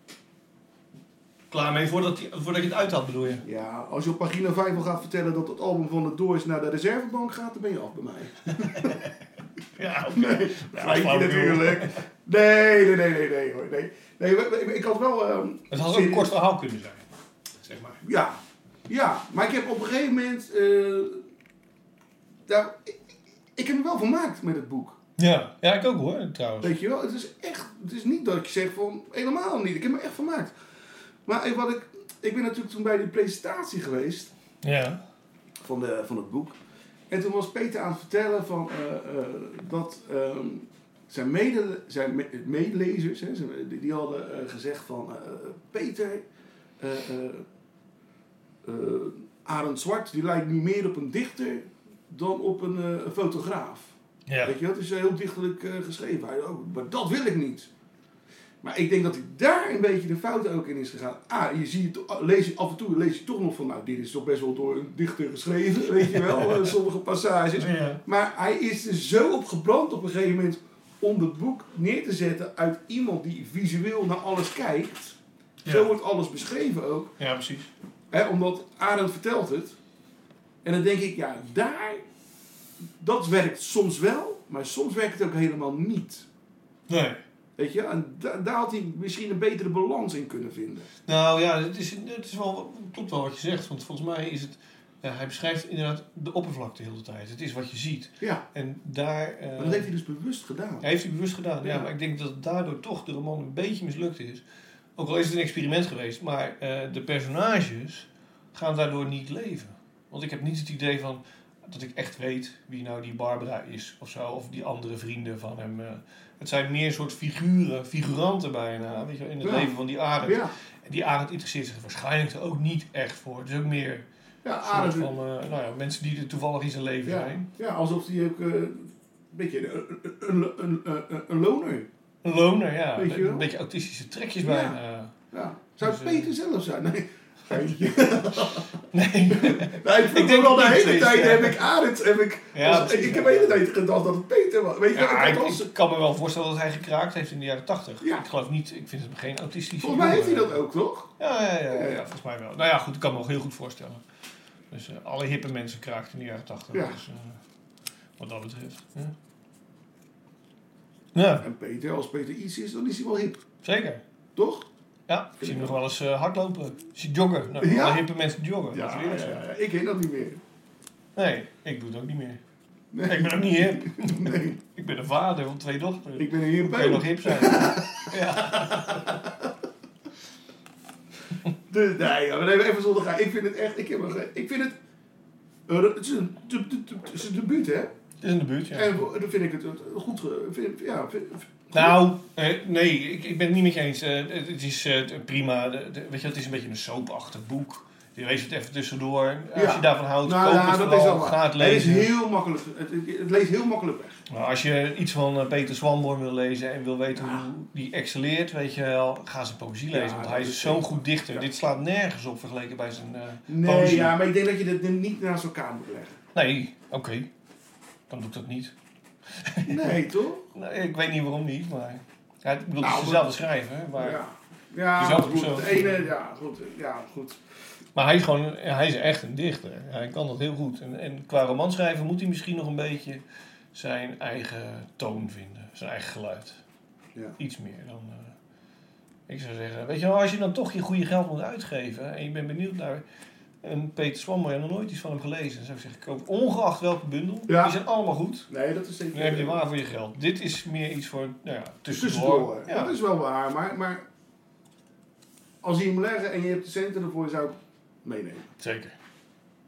F: Klaar mee voordat, die, voordat je het uit had bedoel je?
G: Ja, als je op pagina 5 al gaat vertellen dat het album van de Doors naar de reservebank gaat, dan ben je af bij mij.
F: Ja, oké.
G: Nee,
F: Ja,
G: Feitje
F: flauw,
G: natuurlijk. Nee, nee, nee, nee, nee hoor. Nee, nee maar ik, ik had wel. ehm,
F: Het had ook
G: serieus-
F: een kort verhaal kunnen zijn. Zeg maar.
G: Ja, ja, maar ik heb op een gegeven moment. eh, nou, ik, ik heb me wel vermaakt met het boek.
F: Ja, ja ik ook hoor trouwens.
G: Weet je wel, het is echt. Het is niet dat ik zeg van helemaal niet. Ik heb me echt vermaakt. Maar ik- wat ik, ik ben natuurlijk toen bij die presentatie geweest.
F: Ja.
G: van, de, van het boek. En toen was Peter aan het vertellen van, eh, eh, dat ehm, Zijn, mede, zijn me- medelezers, hè, zijn- die, die hadden eh, gezegd van... eh, Peter, eh eh, eh, Arend Zwart, die lijkt nu meer op een dichter dan op een eh, een fotograaf.
F: Ja.
G: Weet je, dat is eh, heel dichterlijk eh, geschreven. Hij, oh, maar dat wil ik niet. Maar ik denk dat hij daar een beetje de fout ook in is gegaan. Ah, je ziet, lees, je- af en toe lees je toch nog van, nou, dit is toch best wel door een dichter geschreven, weet je wel, eh, sommige passages.
F: Ja.
G: Maar hij is er zo op gebrand op een gegeven moment om het boek neer te zetten uit iemand die visueel naar alles kijkt.
F: Ja.
G: Zo wordt alles beschreven ook.
F: ja, precies.
G: Hè, omdat Arend vertelt het. En dan denk ik, ja, daar, dat werkt soms wel, maar soms werkt het ook helemaal niet.
F: Nee.
G: Weet je, en da- daar had hij misschien een betere balans in kunnen vinden.
F: Nou ja, het, is, het is wel, klopt wel wat je zegt. Want volgens mij is het... eh, hij beschrijft inderdaad de oppervlakte heel de hele tijd. Het is wat je ziet.
G: Ja,
F: En daar... eh,
G: maar dat heeft hij dus bewust gedaan.
F: Ja, heeft hij bewust gedaan. Ja.
G: Ja.
F: maar ik denk dat het daardoor toch de roman een beetje mislukt is. Ook al is het een experiment geweest, maar eh, de personages gaan daardoor niet leven. Want ik heb niet het idee van dat ik echt weet wie nou die Barbara is of zo, of die andere vrienden van hem. eh. Het zijn meer soort figuren, figuranten bijna, weet je, wel, in het
G: Ja.
F: leven van die Arend.
G: Ja,
F: En die Arend interesseert zich er waarschijnlijk ook niet echt voor. Het is ook meer
G: ja,
F: een soort
G: Arend,
F: van eh, nou ja, mensen die er toevallig in zijn leven
G: ja,
F: zijn.
G: ja, alsof hij ook eh, een beetje een, een, een, een, een loner.
F: Een loner, ja.
G: Weet je
F: Een
G: wel?
F: beetje autistische trekjes
G: Ja.
F: bijna.
G: Ja. Zou het
F: Dus, eh,
G: Peter zelf zijn? Nee. Geintje.
F: Nee.
G: Nee, ik
F: Ik
G: vond
F: denk
G: denk al de
F: dat het
G: hele
F: niet
G: tijd
F: is, ja.
G: heb ik Arend. Heb ik,
F: Ja,
G: als-
F: precies,
G: ik
F: ja.
G: heb de hele tijd gedacht dat het Peter was. Weet je,
F: Ja,
G: ik
F: ik,
G: had als,
F: ik kan me wel voorstellen dat hij gekraakt heeft in de jaren tachtig.
G: Ja.
F: Ik geloof niet, ik vind het geen autistische
G: volgens mij heeft hij
F: jongen.
G: dat ook, toch?
F: Ja, ja, ja, ja,
G: Ja,
F: ja,
G: ja.
F: volgens mij wel. Nou ja, goed, ik kan me ook heel goed voorstellen. Dus eh, alle hippe mensen kraakten in de jaren tachtig.
G: Ja.
F: Dus, eh, wat dat betreft. Ja. ja,
G: En Peter, als Peter iets is, dan is hij wel hip,
F: zeker.
G: toch?
F: Ja, ik zie hem nog wel eens eh, hardlopen. Ik zie joggen. Nou,
G: Ja?
F: alle hippe mensen joggen. dat is weer zo.
G: ja, ja. ik weet dat niet meer.
F: Nee, ik doe het ook niet meer.
G: Nee.
F: Ik ben ook niet hip.
G: Nee,
F: Ik ben een vader van twee dochters.
G: ik ben een hip.
F: kan je nog hip zijn? ja.
G: Dus, nee, ja, maar even zonder gaan. Ik vind het echt, ik, heb er ge- ik vind het, eh, het, is een, de- de- de- het is een debuut, hè?
F: Het is in de buurt, ja.
G: En voor- dan vind ik het eh, goed, ge- vind, ja, vind-
F: Nou, eh, nee, ik, ik ben het niet met je eens. Eh, het, het is eh, t- prima. De- de- weet je, het is een beetje een soapachtig boek. Je leest het even tussendoor. Als
G: Ja.
F: je daarvan houdt,
G: nou
F: koop
G: ja,
F: het
G: dat is
F: vooral.
G: al
F: Ga het
G: Het, is
F: lezen.
G: heel makkelijk, het, het, het leest heel makkelijk weg.
F: Maar als je iets van eh, Peter Swanborn wil lezen en wil weten hoe die excelleert, weet je wel, ga zijn poëzie
G: Ja,
F: lezen. want
G: dat
F: hij
G: is
F: is zo'n
G: zeker.
F: goed dichter.
G: Ja.
F: Dit slaat nergens op vergeleken bij zijn eh
G: Nee,
F: poëzie.
G: ja, maar ik denk dat je dit niet naast elkaar moet leggen.
F: Nee, oké. Dan doe ik dat niet.
G: Nee, toch?
F: Nou, ik weet niet waarom niet, maar... Ja, ik bedoel,
G: Nou,
F: het is dezelfde schrijver, maar...
G: Ja, ja
F: Jezelf
G: goed.
F: persoon.
G: Het ene, ja, goed. Ja, goed.
F: Maar hij is gewoon, hij is echt een dichter. Hij kan dat heel goed. En, en qua romanschrijven moet hij misschien nog een beetje zijn eigen toon vinden, zijn eigen geluid.
G: Ja.
F: Iets meer dan. eh, ik zou zeggen, weet je wel, als je dan toch je goede geld moet uitgeven en je bent benieuwd naar een Peter Swammer en nog nooit iets van hem gelezen, dan zou ik zeggen, koop ongeacht welke bundel,
G: Ja.
F: die zijn allemaal goed.
G: Nee, dat is eh, zeker.
F: Dan heb je waar voor je geld. Dit is meer iets voor, nou ja, tussendoor.
G: Tussendoor.
F: Ja.
G: Dat is wel waar, maar, maar als je hem leggen en je hebt de centen ervoor, zou ik meenemen.
F: Zeker.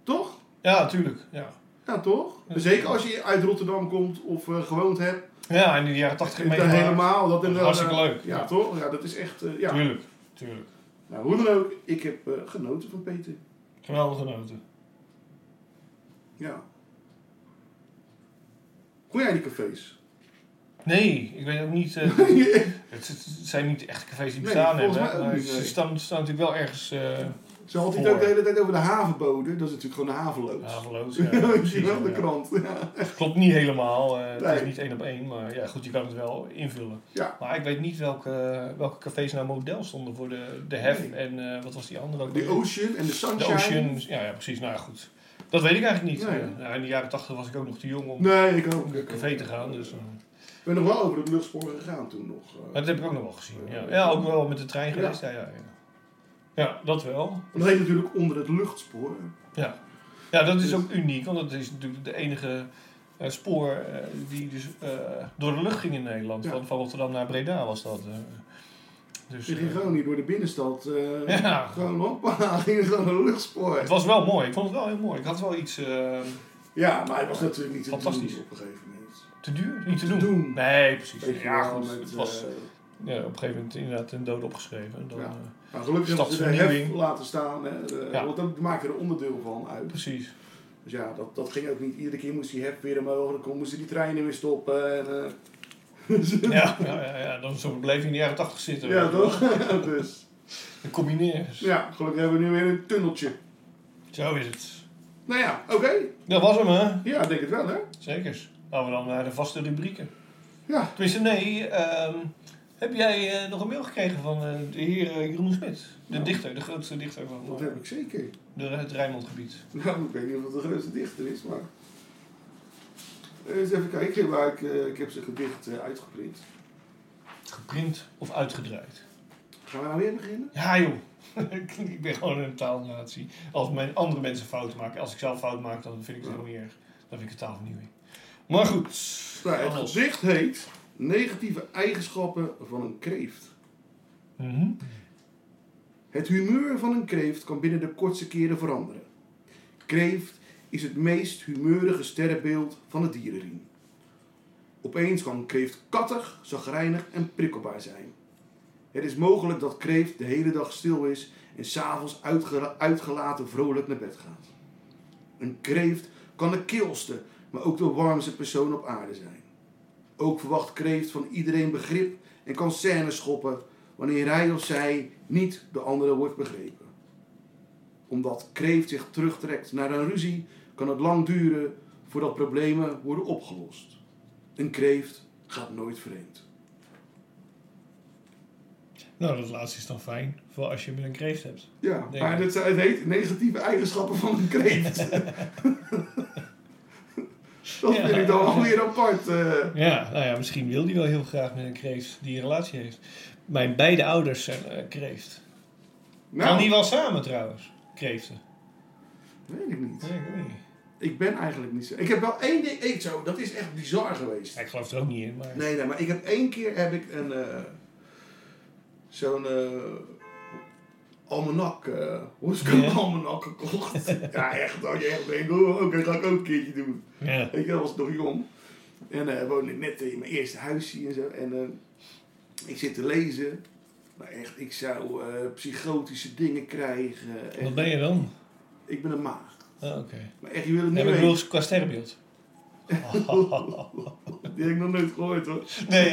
G: Toch?
F: Ja, tuurlijk. Ja.
G: Ja, toch?
F: Ja.
G: Zeker als je uit Rotterdam komt of eh, gewoond hebt.
F: ja, en in de jaren tachtig
G: Dan helemaal. Dat
F: Dat is
G: dan-
F: hartstikke leuk.
G: Ja,
F: Ja.
G: toch? Ja, dat is echt... eh, ja.
F: Tuurlijk, tuurlijk.
G: Nou, hoe dan ook, ik heb eh, genoten van Peter.
F: Geweldig genoten.
G: Ja. Hoe jij die cafés?
F: Nee, ik weet ook niet. eh, het, het zijn niet echt cafés die
G: Nee,
F: bestaan
G: volgens
F: hebben.
G: mij ook
F: maar
G: niet,
F: Ze
G: nee.
F: staan, staan natuurlijk wel ergens eh
G: Ze had het
F: Voor.
G: ook de hele tijd over de havenboden. Dat is natuurlijk gewoon de havenloods.
F: haveloos. Ja,
G: Ja,
F: precies,
G: wel de
F: ja.
G: krant. Ja.
F: Klopt niet helemaal. eh, Het
G: Nee.
F: is niet één op één, maar ja, goed, je kan het wel invullen.
G: Ja.
F: Maar ik weet niet welke, welke cafés nou model stonden voor de, de hef
G: Nee.
F: en eh, wat was die andere ook?
G: De
F: weer?
G: Ocean en de
F: De
G: Sunshine.
F: Ocean. Ja, ja, precies. Nou ja, goed. Dat weet ik eigenlijk niet.
G: Nee.
F: Eh, nou, in de jaren tachtig was ik ook nog te jong om
G: Nee, ik ook.
F: om
G: ik
F: naar
G: ook.
F: een café te gaan. Dus, eh,
G: Ik ben nog wel over het luchtspoor gegaan toen nog. eh.
F: Maar dat heb ik ook nog wel gezien. Ja, ja ook wel met de trein
G: Ja.
F: geweest. Ja, ja, ja. ja dat wel.
G: Dat heet natuurlijk onder het luchtspoor.
F: Ja. ja, dat is
G: Dus-
F: ook uniek, want dat is natuurlijk de enige eh, spoor eh, die dus eh, door de lucht ging in Nederland.
G: Ja.
F: Van, van Rotterdam naar Breda was dat. eh. Dus,
G: Ze
F: eh,
G: ging gewoon niet door de binnenstad. eh,
F: Ja.
G: Gewoon hoppa, ging gewoon een luchtspoor.
F: het was wel mooi, ik vond het wel heel mooi. Ik had wel iets. eh,
G: Ja, maar hij was natuurlijk niet te doen
F: Fantastisch.
G: op een gegeven moment.
F: te duur, niet te, doen.
G: doen.
F: Nee, precies.
G: Weet je
F: ja,
G: wel,
F: goed.
G: met,
F: het was
G: eh,
F: ja, op een gegeven moment inderdaad een dood opgeschreven. Dan,
G: Ja.
F: eh,
G: nou, gelukkig hebben ze de
F: stadsvernieuwing.
G: hef laten staan. Hè, de-
F: Ja.
G: Want dat maakte er onderdeel van uit.
F: precies.
G: Dus ja, dat, dat ging ook niet. Iedere keer moest die hef weer omhoog. Dan kon- moesten die treinen weer stoppen. En, eh,
F: Ja, ja, ja, ja, dan zo bleef je in de jaren tachtig zitten.
G: ja, toch? dus,
F: Dan kom je nergens.
G: ja, gelukkig hebben we nu weer een tunneltje.
F: Zo is het.
G: Nou ja, oké.
F: Dat was hem, hè?
G: Ja, ik denk het wel, hè?
F: Zekers. Gaan we dan naar de vaste rubrieken.
G: Ja.
F: Tenminste, nee. ehm, heb jij eh, nog een mail gekregen van eh, de heer eh, Jeroen Smit? De
G: Nou.
F: dichter, de grootste dichter van
G: Dat
F: eh,
G: heb ik zeker.
F: de, het Rijnmondgebied.
G: Nou, ik weet niet of het de grootste dichter is, maar... Eh, Eens even kijken, maar ik, eh, ik heb zijn gedicht eh, uitgeprint.
F: Geprint of uitgedraaid?
G: Gaan we nou weer beginnen?
F: Ja, joh. ik ben gewoon een taalnazi. Als mijn andere mensen fout maken, als ik zelf fout maak, dan vind ik het
G: Ja.
F: helemaal niet erg. Dan vind ik het taalvernieuwing. Maar goed.
G: Nou, het
F: Alles.
G: gedicht heet Negatieve eigenschappen van een kreeft.
F: Mhm.
G: Het humeur van een kreeft kan binnen de kortste keren veranderen. Kreeft is het meest humeurige sterrenbeeld van het dierenriem. Opeens kan kreeft kattig, zagrijnig en prikkelbaar zijn. Het is mogelijk dat kreeft de hele dag stil is en s'avonds uitge- uitgelaten vrolijk naar bed gaat. Een kreeft kan de kilste, maar ook de warmste persoon op aarde zijn. Ook verwacht kreeft van iedereen begrip en kan scènes schoppen wanneer hij of zij niet de andere wordt begrepen. Omdat kreeft zich terugtrekt naar een ruzie, kan het lang duren voordat problemen worden opgelost. Een kreeft gaat nooit vreemd.
F: Nou, dat laatste is dan fijn. Voor als je met een kreeft hebt.
G: Ja,
F: Denk
G: maar
F: ik.
G: dat, het heet negatieve eigenschappen van een kreeft. dat
F: Ja.
G: vind ik dan alweer apart. eh.
F: Ja, nou ja, misschien wil die wel heel graag met een kreeft die een relatie heeft. Mijn beide ouders zijn eh, kreeft. Gaan die
G: nou,
F: wel samen trouwens? Kreeften.
G: weet ik niet.
F: Nee, ik weet niet.
G: Ik ben eigenlijk niet zo. Ik heb wel één ding. ik zo, dat is echt bizar geweest.
F: Ja, ik geloof er ook niet in, maar...
G: Nee, nee, maar ik heb één keer heb ik een eh, zo'n eh, almanak, eh horoscoop
F: Ja.
G: almanak gekocht. ja, echt. Dat je echt denkt, oh, oké, ga ik ook een keertje doen.
F: Ja.
G: Weet je, dat was nog jong. En eh woonde ik net in mijn eerste huisje en zo. En eh, ik zit te lezen. Maar echt, ik zou eh, psychotische dingen krijgen.
F: Wat
G: Echt,
F: ben je dan?
G: ik ben een maag.
F: Ah, oké.
G: Maar echt, je wil het
F: Nee,
G: niet
F: maar ik
G: weten.
F: bedoel, qua sterrenbeeld.
G: Die heb ik nog nooit gehoord hoor.
F: Nee.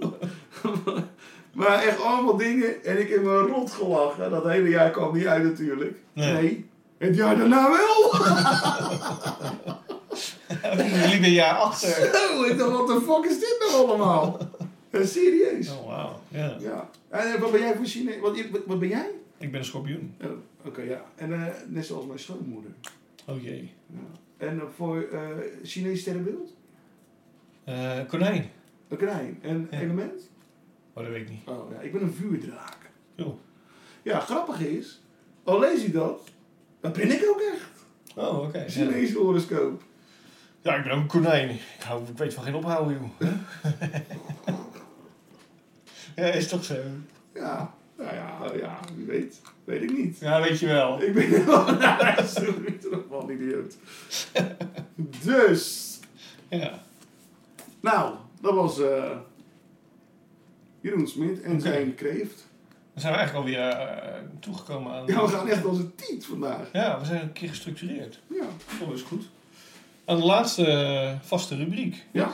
G: Maar echt allemaal dingen. En ik heb me rot gelachen. Dat hele jaar kwam niet uit natuurlijk.
F: Nee.
G: Nee. Het jaar daarna wel.
F: Jullie ben jaar achter.
G: Zo, Oh, ik dacht, wat de fuck is dit nou allemaal? Ja, serieus.
F: Oh, wauw. Ja.
G: Ja. En eh, wat ben jij voor Chinees? Wat, wat- wat ben jij?
F: Ik ben een schorpioen.
G: Oh, Oké, ja. En eh, net zoals mijn schoonmoeder.
F: Oh jee.
G: Ja. En eh, voor eh Chinees sterrenbeeld?
F: Eh, konijn.
G: Een konijn. En
F: Ja.
G: element?
F: Oh, dat weet ik niet.
G: Oh ja, ik ben een vuurdraak.
F: Joh.
G: Ja, grappig is, al lees je dat, dat ben ik ook echt.
F: Oh, oké. Ja.
G: Chinese horoscoop.
F: Ja, ik ben ook een konijn. Ik, hou, ik weet van geen ophouden, joh. ja, is toch zo?
G: Ja, nou ja, ja, wie weet. Weet ik niet.
F: Ja, weet je wel.
G: Ik ben wel absoluut een idioot. Dus,
F: Ja.
G: nou, dat was eh, Jeroen Smit en zijn kreeft.
F: Dan zijn we eigenlijk alweer eh, toegekomen aan...
G: Ja, we gaan echt als een tiet vandaag.
F: Ja, we zijn een keer gestructureerd.
G: Ja,
F: Dat is goed. Aan de laatste eh, vaste rubriek.
G: ja,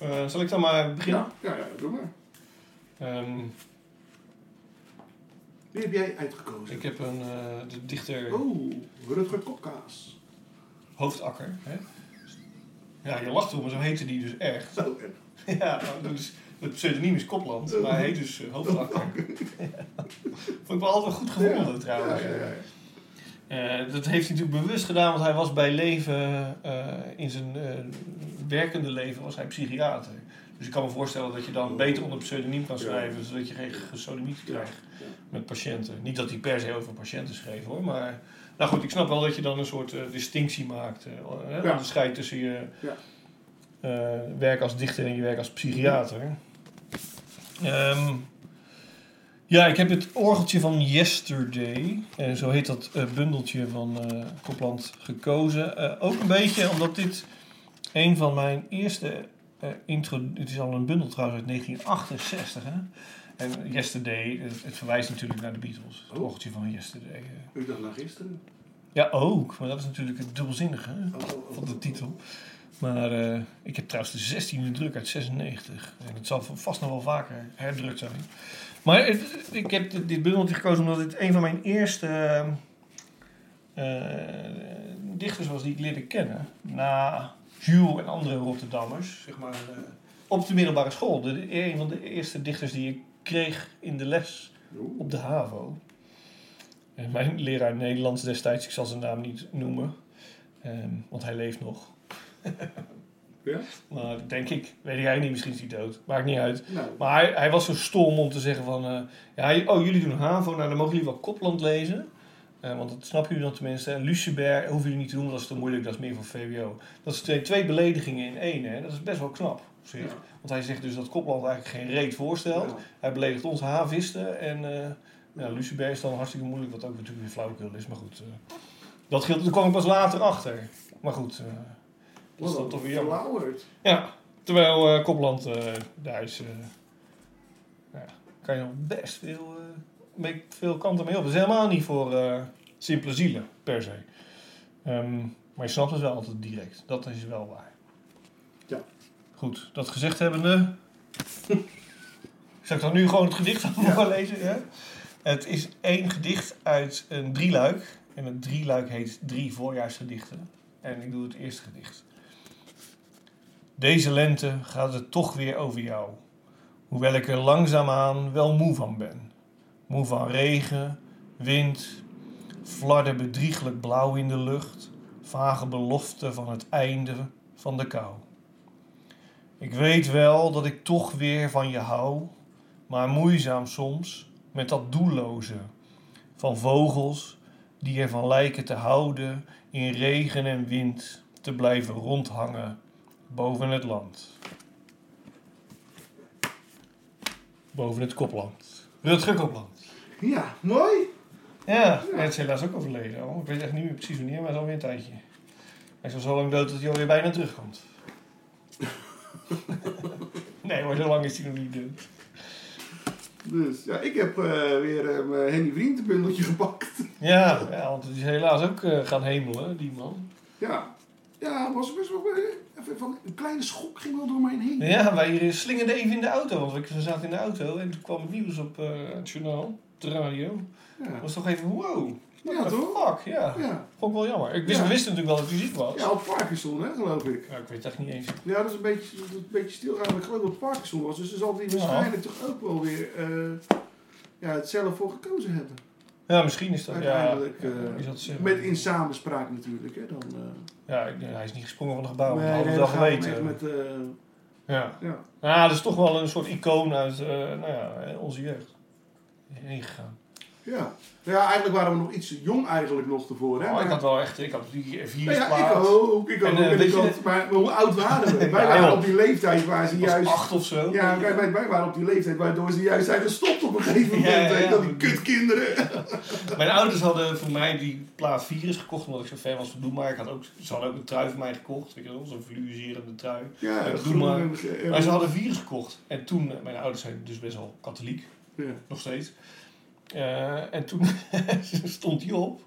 F: Eh, zal ik dan maar beginnen?
G: ja, ja, ja, doe maar.
F: Ehm,
G: Wie heb jij uitgekozen?
F: ik heb een eh, de dichter
G: Oh, Rutger Kokkaas.
F: Hoofdakker. Hè? Ja, je lacht om, maar zo heette die dus echt.
G: Zo, en
F: Ja, dus het pseudoniem is Kopland, maar hij heet dus eh, Hoofdakker. Vond ik wel altijd goed gevonden trouwens.
G: Ja, ja, ja.
F: Eh, dat heeft hij natuurlijk bewust gedaan, want hij was bij leven, eh, in zijn eh, werkende leven was hij psychiater. Dus ik kan me voorstellen dat je dan beter onder pseudoniem kan
G: Ja.
F: schrijven, zodat je geen gesodemiet
G: Ja.
F: krijgt
G: Ja.
F: met patiënten. Niet dat hij per se over patiënten schreef hoor, maar... Nou goed, ik snap wel dat je dan een soort eh, distinctie maakt. eh, hè,
G: Ja.
F: Onderscheid tussen je
G: Ja.
F: eh, werk als dichter en je werk als psychiater. Ehm, Ja, ik heb het orgeltje van Yesterday, en zo heet dat eh, bundeltje van eh Copland, gekozen. Eh, ook een beetje omdat dit een van mijn eerste eh intro... Het is al een bundel trouwens uit 1968, hè? En Yesterday, eh, het, het verwijst natuurlijk naar de Beatles. Het
G: Oh.
F: orgeltje van Yesterday. eh.
G: Ik dacht naar gisteren.
F: Ja, ook. Maar dat is natuurlijk het dubbelzinnige hè,
G: Oh, oh, oh.
F: van de titel. Maar eh, ik heb trouwens de 16e druk uit 96. En het zal vast nog wel vaker herdrukt zijn. Maar het- ik heb dit dit bundeltje gekozen omdat het een van mijn eerste eh, eh, dichters was die ik leerde kennen. Na Jules en andere Rotterdammers, zeg maar. eh, op de middelbare school. De, een van de eerste dichters die ik kreeg in de les
G: Oeh.
F: op de HAVO. En mijn leraar Nederlands destijds, ik zal zijn naam niet noemen, ehm, want hij leeft nog.
G: Ja?
F: Maar denk ik, weet jij niet, misschien is hij dood, maakt niet uit.
G: Nou,
F: Maar hij, hij was zo stom om te zeggen van, eh, ja, oh jullie doen HAVO, nou dan mogen jullie wel Kopland lezen. Eh, want dat snappen jullie dan tenminste. En Lucebert hoeven jullie niet te doen, want dat is te moeilijk, dat is meer voor VWO. Dat is twee, twee beledigingen in één, hè. dat is best wel knap. op zich.
G: Ja.
F: Want hij zegt dus dat Kopland eigenlijk geen reet voorstelt.
G: ja.
F: Hij beledigt ons havisten en eh nou, Lucibert is dan hartstikke moeilijk, wat ook natuurlijk weer flauwekul is. Maar goed, eh, dat geldt, daar kwam ik pas later achter. Maar goed, eh, dat is dan
G: Wat
F: toch
G: een
F: weer jammer.
G: verlauwerd.
F: Ja, terwijl eh, Kopland, eh daar is, eh, nou ja, kan je nog best veel, eh, mee, veel kanten mee op. Dat is helemaal niet voor eh, simpele zielen, per se. Ehm, maar je snapt het wel altijd direct, dat is wel waar.
G: Ja.
F: Goed, dat gezegd hebbende... Zal ik dan nu gewoon het gedicht van
G: Ja.
F: voorlezen? Ja? Het is één gedicht uit een drieluik. En het drieluik heet Drie voorjaarsgedichten. En ik doe het eerste gedicht. Deze lente gaat het toch weer over jou. Hoewel ik er langzaamaan wel moe van ben. Moe van regen, wind, fladder bedrieglijk blauw in de lucht. Vage belofte van het einde van de kou. Ik weet wel dat ik toch weer van je hou, maar moeizaam soms met dat doelloze. Van vogels die ervan lijken te houden in regen en wind te blijven rondhangen boven het land. Boven het kopland. Rutger Kopland.
G: Ja, mooi.
F: Ja, hij is helaas ook overleden al. Ik weet echt niet meer precies wanneer, maar het is alweer een tijdje. Hij is al zo lang dood dat hij alweer bijna terugkomt. nee, maar zo lang is hij nog niet dood.
G: Dus ja, ik heb eh, weer eh, mijn Henny Vriend bundeltje gepakt.
F: Ja, ja, want het is helaas ook eh, gaan hemelen, die man.
G: Ja. Ja, was best wel... eh, even van, een kleine schok ging wel door mij heen.
F: Ja, wij slingerden even in de auto, want we zaten in de auto en toen kwam het nieuws op eh, het journaal, op de radio.
G: Ja,
F: Dat was toch even wow.
G: ja
F: What the
G: toch?
F: Fuck, ja.
G: Ja.
F: Vond ik wel jammer. Ik wist,
G: Ja.
F: we wisten natuurlijk wel dat hij ziek was.
G: ja, op Parkinson, hè, geloof ik.
F: Ja, ik weet het echt niet eens.
G: Ja, dat is een beetje, dat is een beetje stilgaan. Ik geloof dat Parkinson was, dus dan zal hij
F: Ja.
G: waarschijnlijk toch ook wel weer eh, ja, het zelf voor gekozen hebben.
F: Ja, misschien is dat. Ja,
G: Uiteindelijk. eh,
F: is dat zo?
G: met in samenspraak natuurlijk. Hè, dan, eh.
F: ja, ik- hij is niet gesprongen van een gebouw,
G: Nee,
F: dat hadden
G: nee,
F: we wel
G: dan gaan we hem echt
F: geweten.
G: Met, eh,
F: Ja.
G: ja.
F: Nou, dat is toch wel een soort icoon uit eh, nou ja, onze jeugd. Heen gegaan.
G: Ja. ja, eigenlijk waren we nog iets te jong eigenlijk nog ervoor. Hè,
F: Oh,
G: maar-
F: ik had wel echt, ik had die
G: Nou
F: vier
G: ja,
F: plaat.
G: ik ook, ik ook.
F: En, eh,
G: En
F: weet
G: ik
F: je
G: had- maar hoe oud waren we? Wij
F: Ja,
G: waren
F: joh.
G: op die leeftijd waar ze
F: Ik was
G: juist...
F: acht of zo.
G: Ja, wij, wij, wij waren op die leeftijd waardoor ze juist zijn gestopt op een gegeven moment.
F: Ja, ja,
G: hè,
F: ja.
G: Dat die kutkinderen.
F: Mijn ouders hadden voor mij die plaat virus gekocht, omdat ik zo fan was van Doe Maar. Ik had ook, ze hadden ook een trui voor mij gekocht, weet je wel, zo'n fluoriserende trui.
G: Ja,
F: doe
G: groen
F: maar.
G: en ge-
F: Maar ze hadden virus gekocht. En toen, eh, mijn ouders zijn dus best wel katholiek,
G: Ja.
F: nog steeds. Eh, en toen stond die op.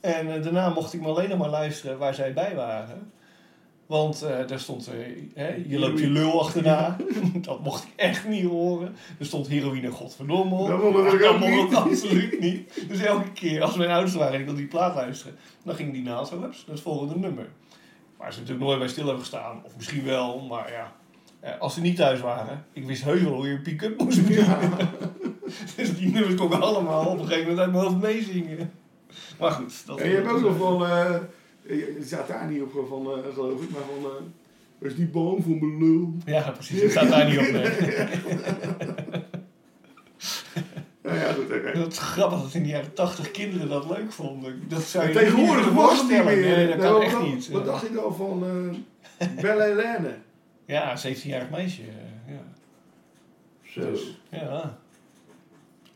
F: En eh, daarna mocht ik me alleen nog maar luisteren waar zij bij waren. Want eh, daar stond, eh, hè, je loopt je lul achterna. dat mocht ik echt niet horen. Er stond heroïne godverdomme op.
G: Dat mocht ik
F: Dat
G: ook
F: mocht ik
G: niet.
F: absoluut niet. Dus elke keer als mijn ouders waren en ik wilde die plaat luisteren, dan ging die naast zo, hups, dat volgende nummer. Waar ze natuurlijk nooit bij stil hebben gestaan. Of misschien wel, maar ja. Eh, Als ze niet thuis waren, ik wist heus wel hoe je een pick-up moest bedienen. dus die nummers kon ik allemaal op een gegeven moment uit mijn hoofd meezingen. Maar goed, dat
G: En je hebt ook nog wel, eh, je je staat daar niet op van, eh, geloof ik, maar van, eh, er is die boom voor mijn lul.
F: Ja, precies. Het staat daar niet op. nee.
G: Nou ja, goed, oké.
F: Dat is grappig dat in de jaren 80 kinderen dat leuk vonden. Dat zou je
G: Tegenwoordig
F: niet
G: was het niet
F: voorstellen.
G: meer.
F: Nee, dat
G: Nou,
F: kan
G: wat
F: echt
G: dacht-
F: niet.
G: Wat dacht ik dan van eh Belle Helene?
F: Ja, 17-jarig meisje. eh, Ja.
G: Zo.
F: Ja.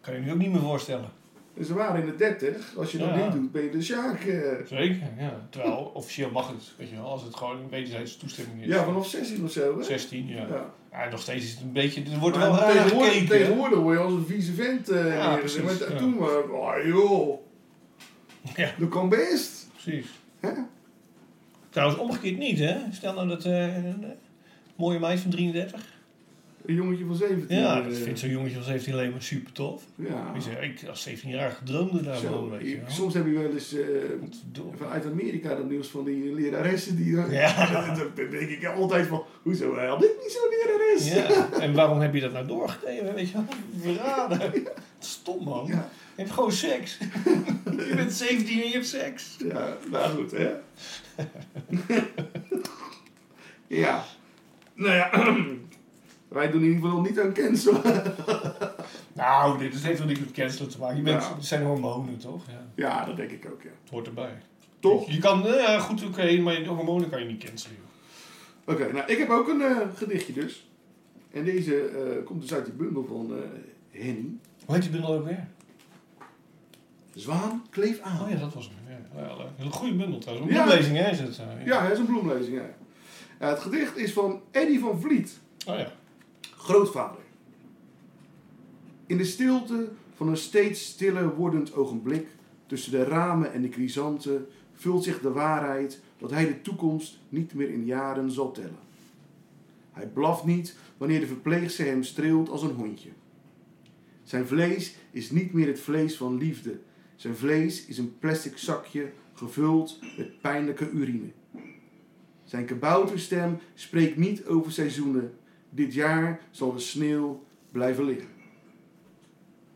F: Kan je nu ook niet meer voorstellen.
G: Dus ze waren in de 30. Als je dat
F: Ja.
G: niet doet, ben je de Sjaak. eh.
F: Zeker, ja. Terwijl, officieel mag het, weet je wel, als het gewoon wederzijds toestemming is.
G: ja, vanaf 16 of zo. Hè?
F: 16, ja.
G: Ja.
F: Ja, nog steeds is het een beetje, er wordt
G: Maar
F: wel raar naar
G: tegenwoordig,
F: gekeken. hè?
G: tegenwoordig word je als een vieze vent. eh
F: Ja,
G: neergezet.
F: precies,
G: maar t-
F: ja.
G: toen waren we, ah, joh,
F: Ja.
G: dat kan best.
F: Precies.
G: Hè?
F: Trouwens, omgekeerd niet, hè? Stel nou dat eh, een eh, mooie meisje van 33.
G: Een jongetje van 17.
F: Ja,
G: eh,
F: dat vindt zo'n jongetje van 17 alleen maar super tof.
G: ja.
F: Die zegt, ik als 17-jarige droomde daar
G: Zo,
F: wel een beetje.
G: ik- soms heb je wel eens eh,
F: Godverdomme.
G: vanuit Amerika dat nieuws van die leraressen die.
F: Ja.
G: Dan- Dan denk ik altijd van, hoezo hij had dit niet zo'n lerares?
F: Ja, en waarom heb je dat nou doorgegeven? Weet je wel, verraden. Stom man.
G: Ja.
F: Je hebt gewoon seks. je bent 17 en je hebt seks.
G: Ja, nou goed, hè? ja. Nou ja, wij doen in ieder geval niet aan cancelen.
F: Nou, dit is- heeft wel niet met cancelen te maken. Je bent,
G: Ja.
F: Het zijn hormonen toch? Ja.
G: Ja, dat denk ik ook, ja.
F: Het hoort erbij.
G: Toch?
F: Je kan, eh, ja, goed oké, maar je hormonen kan je niet cancelen. joh.
G: Oké, nou, ik heb ook een eh, gedichtje dus. En deze eh, komt dus uit die bundel van eh, Henny.
F: Hoe heet die bundel ook weer?
G: Zwaan, kleef aan.
F: Oh ja, dat was hem. Ja, wel, eh, een goede bundel trouwens. Een
G: Ja.
F: boeklezing hè, is het. eh,
G: Ja, hij is een bloemlezing, ja. Eh, het gedicht is van Eddy van Vliet,
F: Oh ja.
G: grootvader. In de stilte van een steeds stiller wordend ogenblik tussen de ramen en de crisanten vult zich de waarheid dat hij de toekomst niet meer in jaren zal tellen. Hij blaft niet wanneer de verpleegster hem streelt als een hondje. Zijn vlees is niet meer het vlees van liefde. Zijn vlees is een plastic zakje gevuld met pijnlijke urine. Zijn kabouterstem spreekt niet over seizoenen. Dit jaar zal de sneeuw blijven liggen.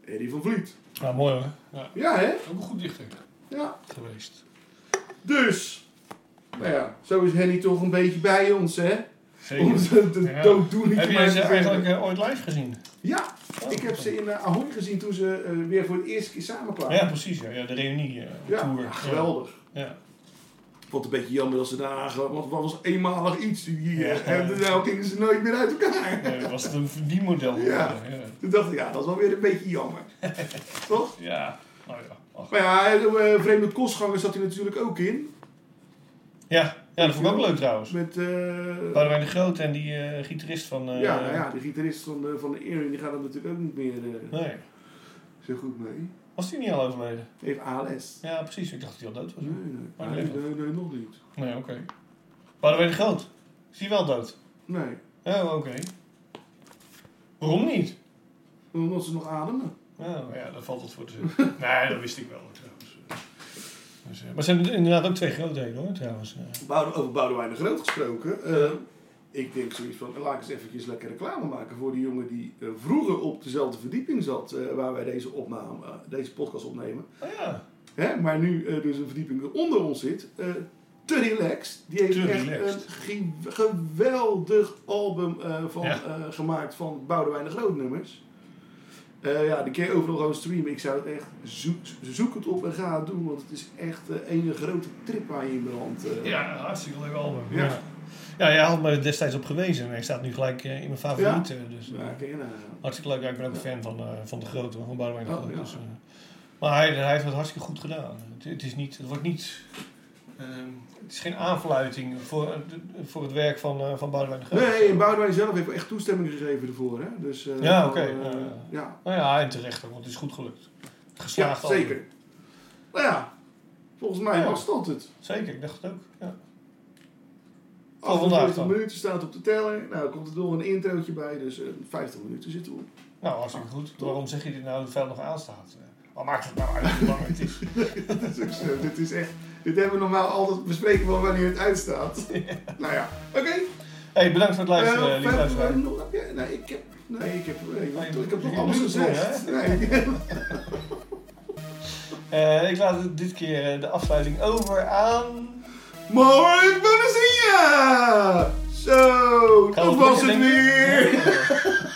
G: Eddie van Vliet.
F: Nou, mooi hoor. Ja,
G: Ja, hè?
F: ook een goed dichter
G: Ja.
F: geweest.
G: Dus. Nou ja, zo is Henny toch een beetje bij ons, hè? Om
F: Zeker.
G: de, de
F: Ja.
G: dooddoening
F: Heb
G: te
F: jij ze
G: maken.
F: eigenlijk eh, ooit live gezien?
G: Ja, ik heb ze in eh, Ahoy gezien toen ze eh, weer voor het eerste keer samen kwamen.
F: Ja, precies. Ja, ja de reunie eh, tour.
G: ja Ah, geweldig.
F: Ja.
G: Ik vond het een beetje jammer dat ze daar... Want wat was eenmalig iets hier?
F: Ja.
G: En daarna gingen ze nooit meer uit elkaar.
F: Ja. Eh, Was het een verdienmodel?
G: Ja.
F: Ja.
G: Toen dacht ik, ja, dat is wel weer een beetje jammer. Toch?
F: Ja. Nou ja. Ach.
G: Maar ja, eh, Vreemde Kostganger zat hij natuurlijk ook in.
F: Ja. ja, dat vond ik ook leuk trouwens.
G: Met, eh,
F: Boudewijn de Groot en die eh, gitarist van... Oh, eh,
G: ja, nou ja, de gitarist van de, van de Earring, die gaat er natuurlijk ook niet meer eh,
F: Nee.
G: zo goed mee.
F: Was die niet al overleden?
G: Heeft ALS.
F: Ja, precies. Ik dacht dat hij al dood was.
G: Nee, nee,
F: Maar
G: nee,
F: die leeft
G: nee, nee, nog niet.
F: Nee, oké. Boudewijn de Groot. Is die wel dood?
G: Nee,
F: Oh, oké. Waarom niet?
G: omdat ze nog ademen.
F: Oh, ja, dat valt wat voor te zeggen. nee, dat wist ik wel trouwens. Dus, eh, maar het zijn inderdaad ook twee grootheden hoor trouwens. Eh,
G: Boude, over Boudewijn de Groot gesproken. eh, ik denk zoiets van, eh, laat ik eens eventjes lekker reclame maken voor die jongen die eh, vroeger op dezelfde verdieping zat eh, waar wij deze, opname, eh, deze podcast opnemen.
F: Oh ja.
G: Hè, maar nu eh, dus een verdieping onder ons zit. eh te relaxed. Die heeft
F: Te
G: echt
F: relaxed.
G: een ge- geweldig album eh, van,
F: Ja.
G: eh, gemaakt van Boudewijn de Groot nummers. Eh, ja, die kun je overal gewoon streamen. Ik zou het echt zoek, zoek het op en ga het doen, want het is echt eh een grote trip waar je in belandt. eh.
F: Ja, hartstikke leuk album.
G: Ja.
F: Ja. ja, jij had me er destijds op gewezen en hij staat nu gelijk eh, in mijn favorieten. Dus, eh,
G: Ja, kun je nagaan.
F: Hartstikke leuk. Ja, ik ben ook een fan van, eh, van de grote, hoor, van Boudewijn de
G: Oh,
F: Groot.
G: ja.
F: Dus, eh, maar hij, hij heeft het hartstikke goed gedaan. Het, het is niet, het wordt niet... ehm, het is geen aanfluiting voor, het- voor het werk van, eh van Boudewijn de Groot.
G: Nee, en Boudewijn zelf heeft echt toestemming gegeven ervoor. Hè? Dus, eh,
F: Ja, oké,
G: eh,
F: ja, ja.
G: ja,
F: Nou ja, en terecht ook, want het is goed gelukt.
G: ja,
F: Geslaagd album.
G: zeker. Nou ja, volgens mij
F: Ja.
G: was dat het.
F: Zeker, ik dacht het ook. Ja. Voor vandaag
G: 48
F: dan.
G: minuten staat op de teller. Nou, komt er nog een introotje bij, dus eh, 50 minuten zitten we op.
F: Nou, hartstikke goed. Waarom zeg je dit nou dat het veld nog aanstaat? Eh, Wat maakt het nou uit hoe lang het is?
G: Dat is ook zo. Dus, eh, Dit is echt. Dit hebben we normaal altijd bespreken van wanneer het uitstaat. Nou ja, oké.
F: Hey, bedankt voor het
G: Eh,
F: luisteren, lieve
G: verder,
F: luisteraar.
G: eh, nog- heb jij- Nee, ik heb. Nee, ik heb. Nee,
F: Nee,
G: ik heb nog
F: je
G: alles
F: doet het
G: gezegd. Nee.
F: Eh, ik laat het dit keer eh, de afsluiting over aan...
G: Mooi, Bonnesia! Zo,
F: Gaan
G: dat
F: we het
G: was het
F: denken?
G: weer.
F: Ja.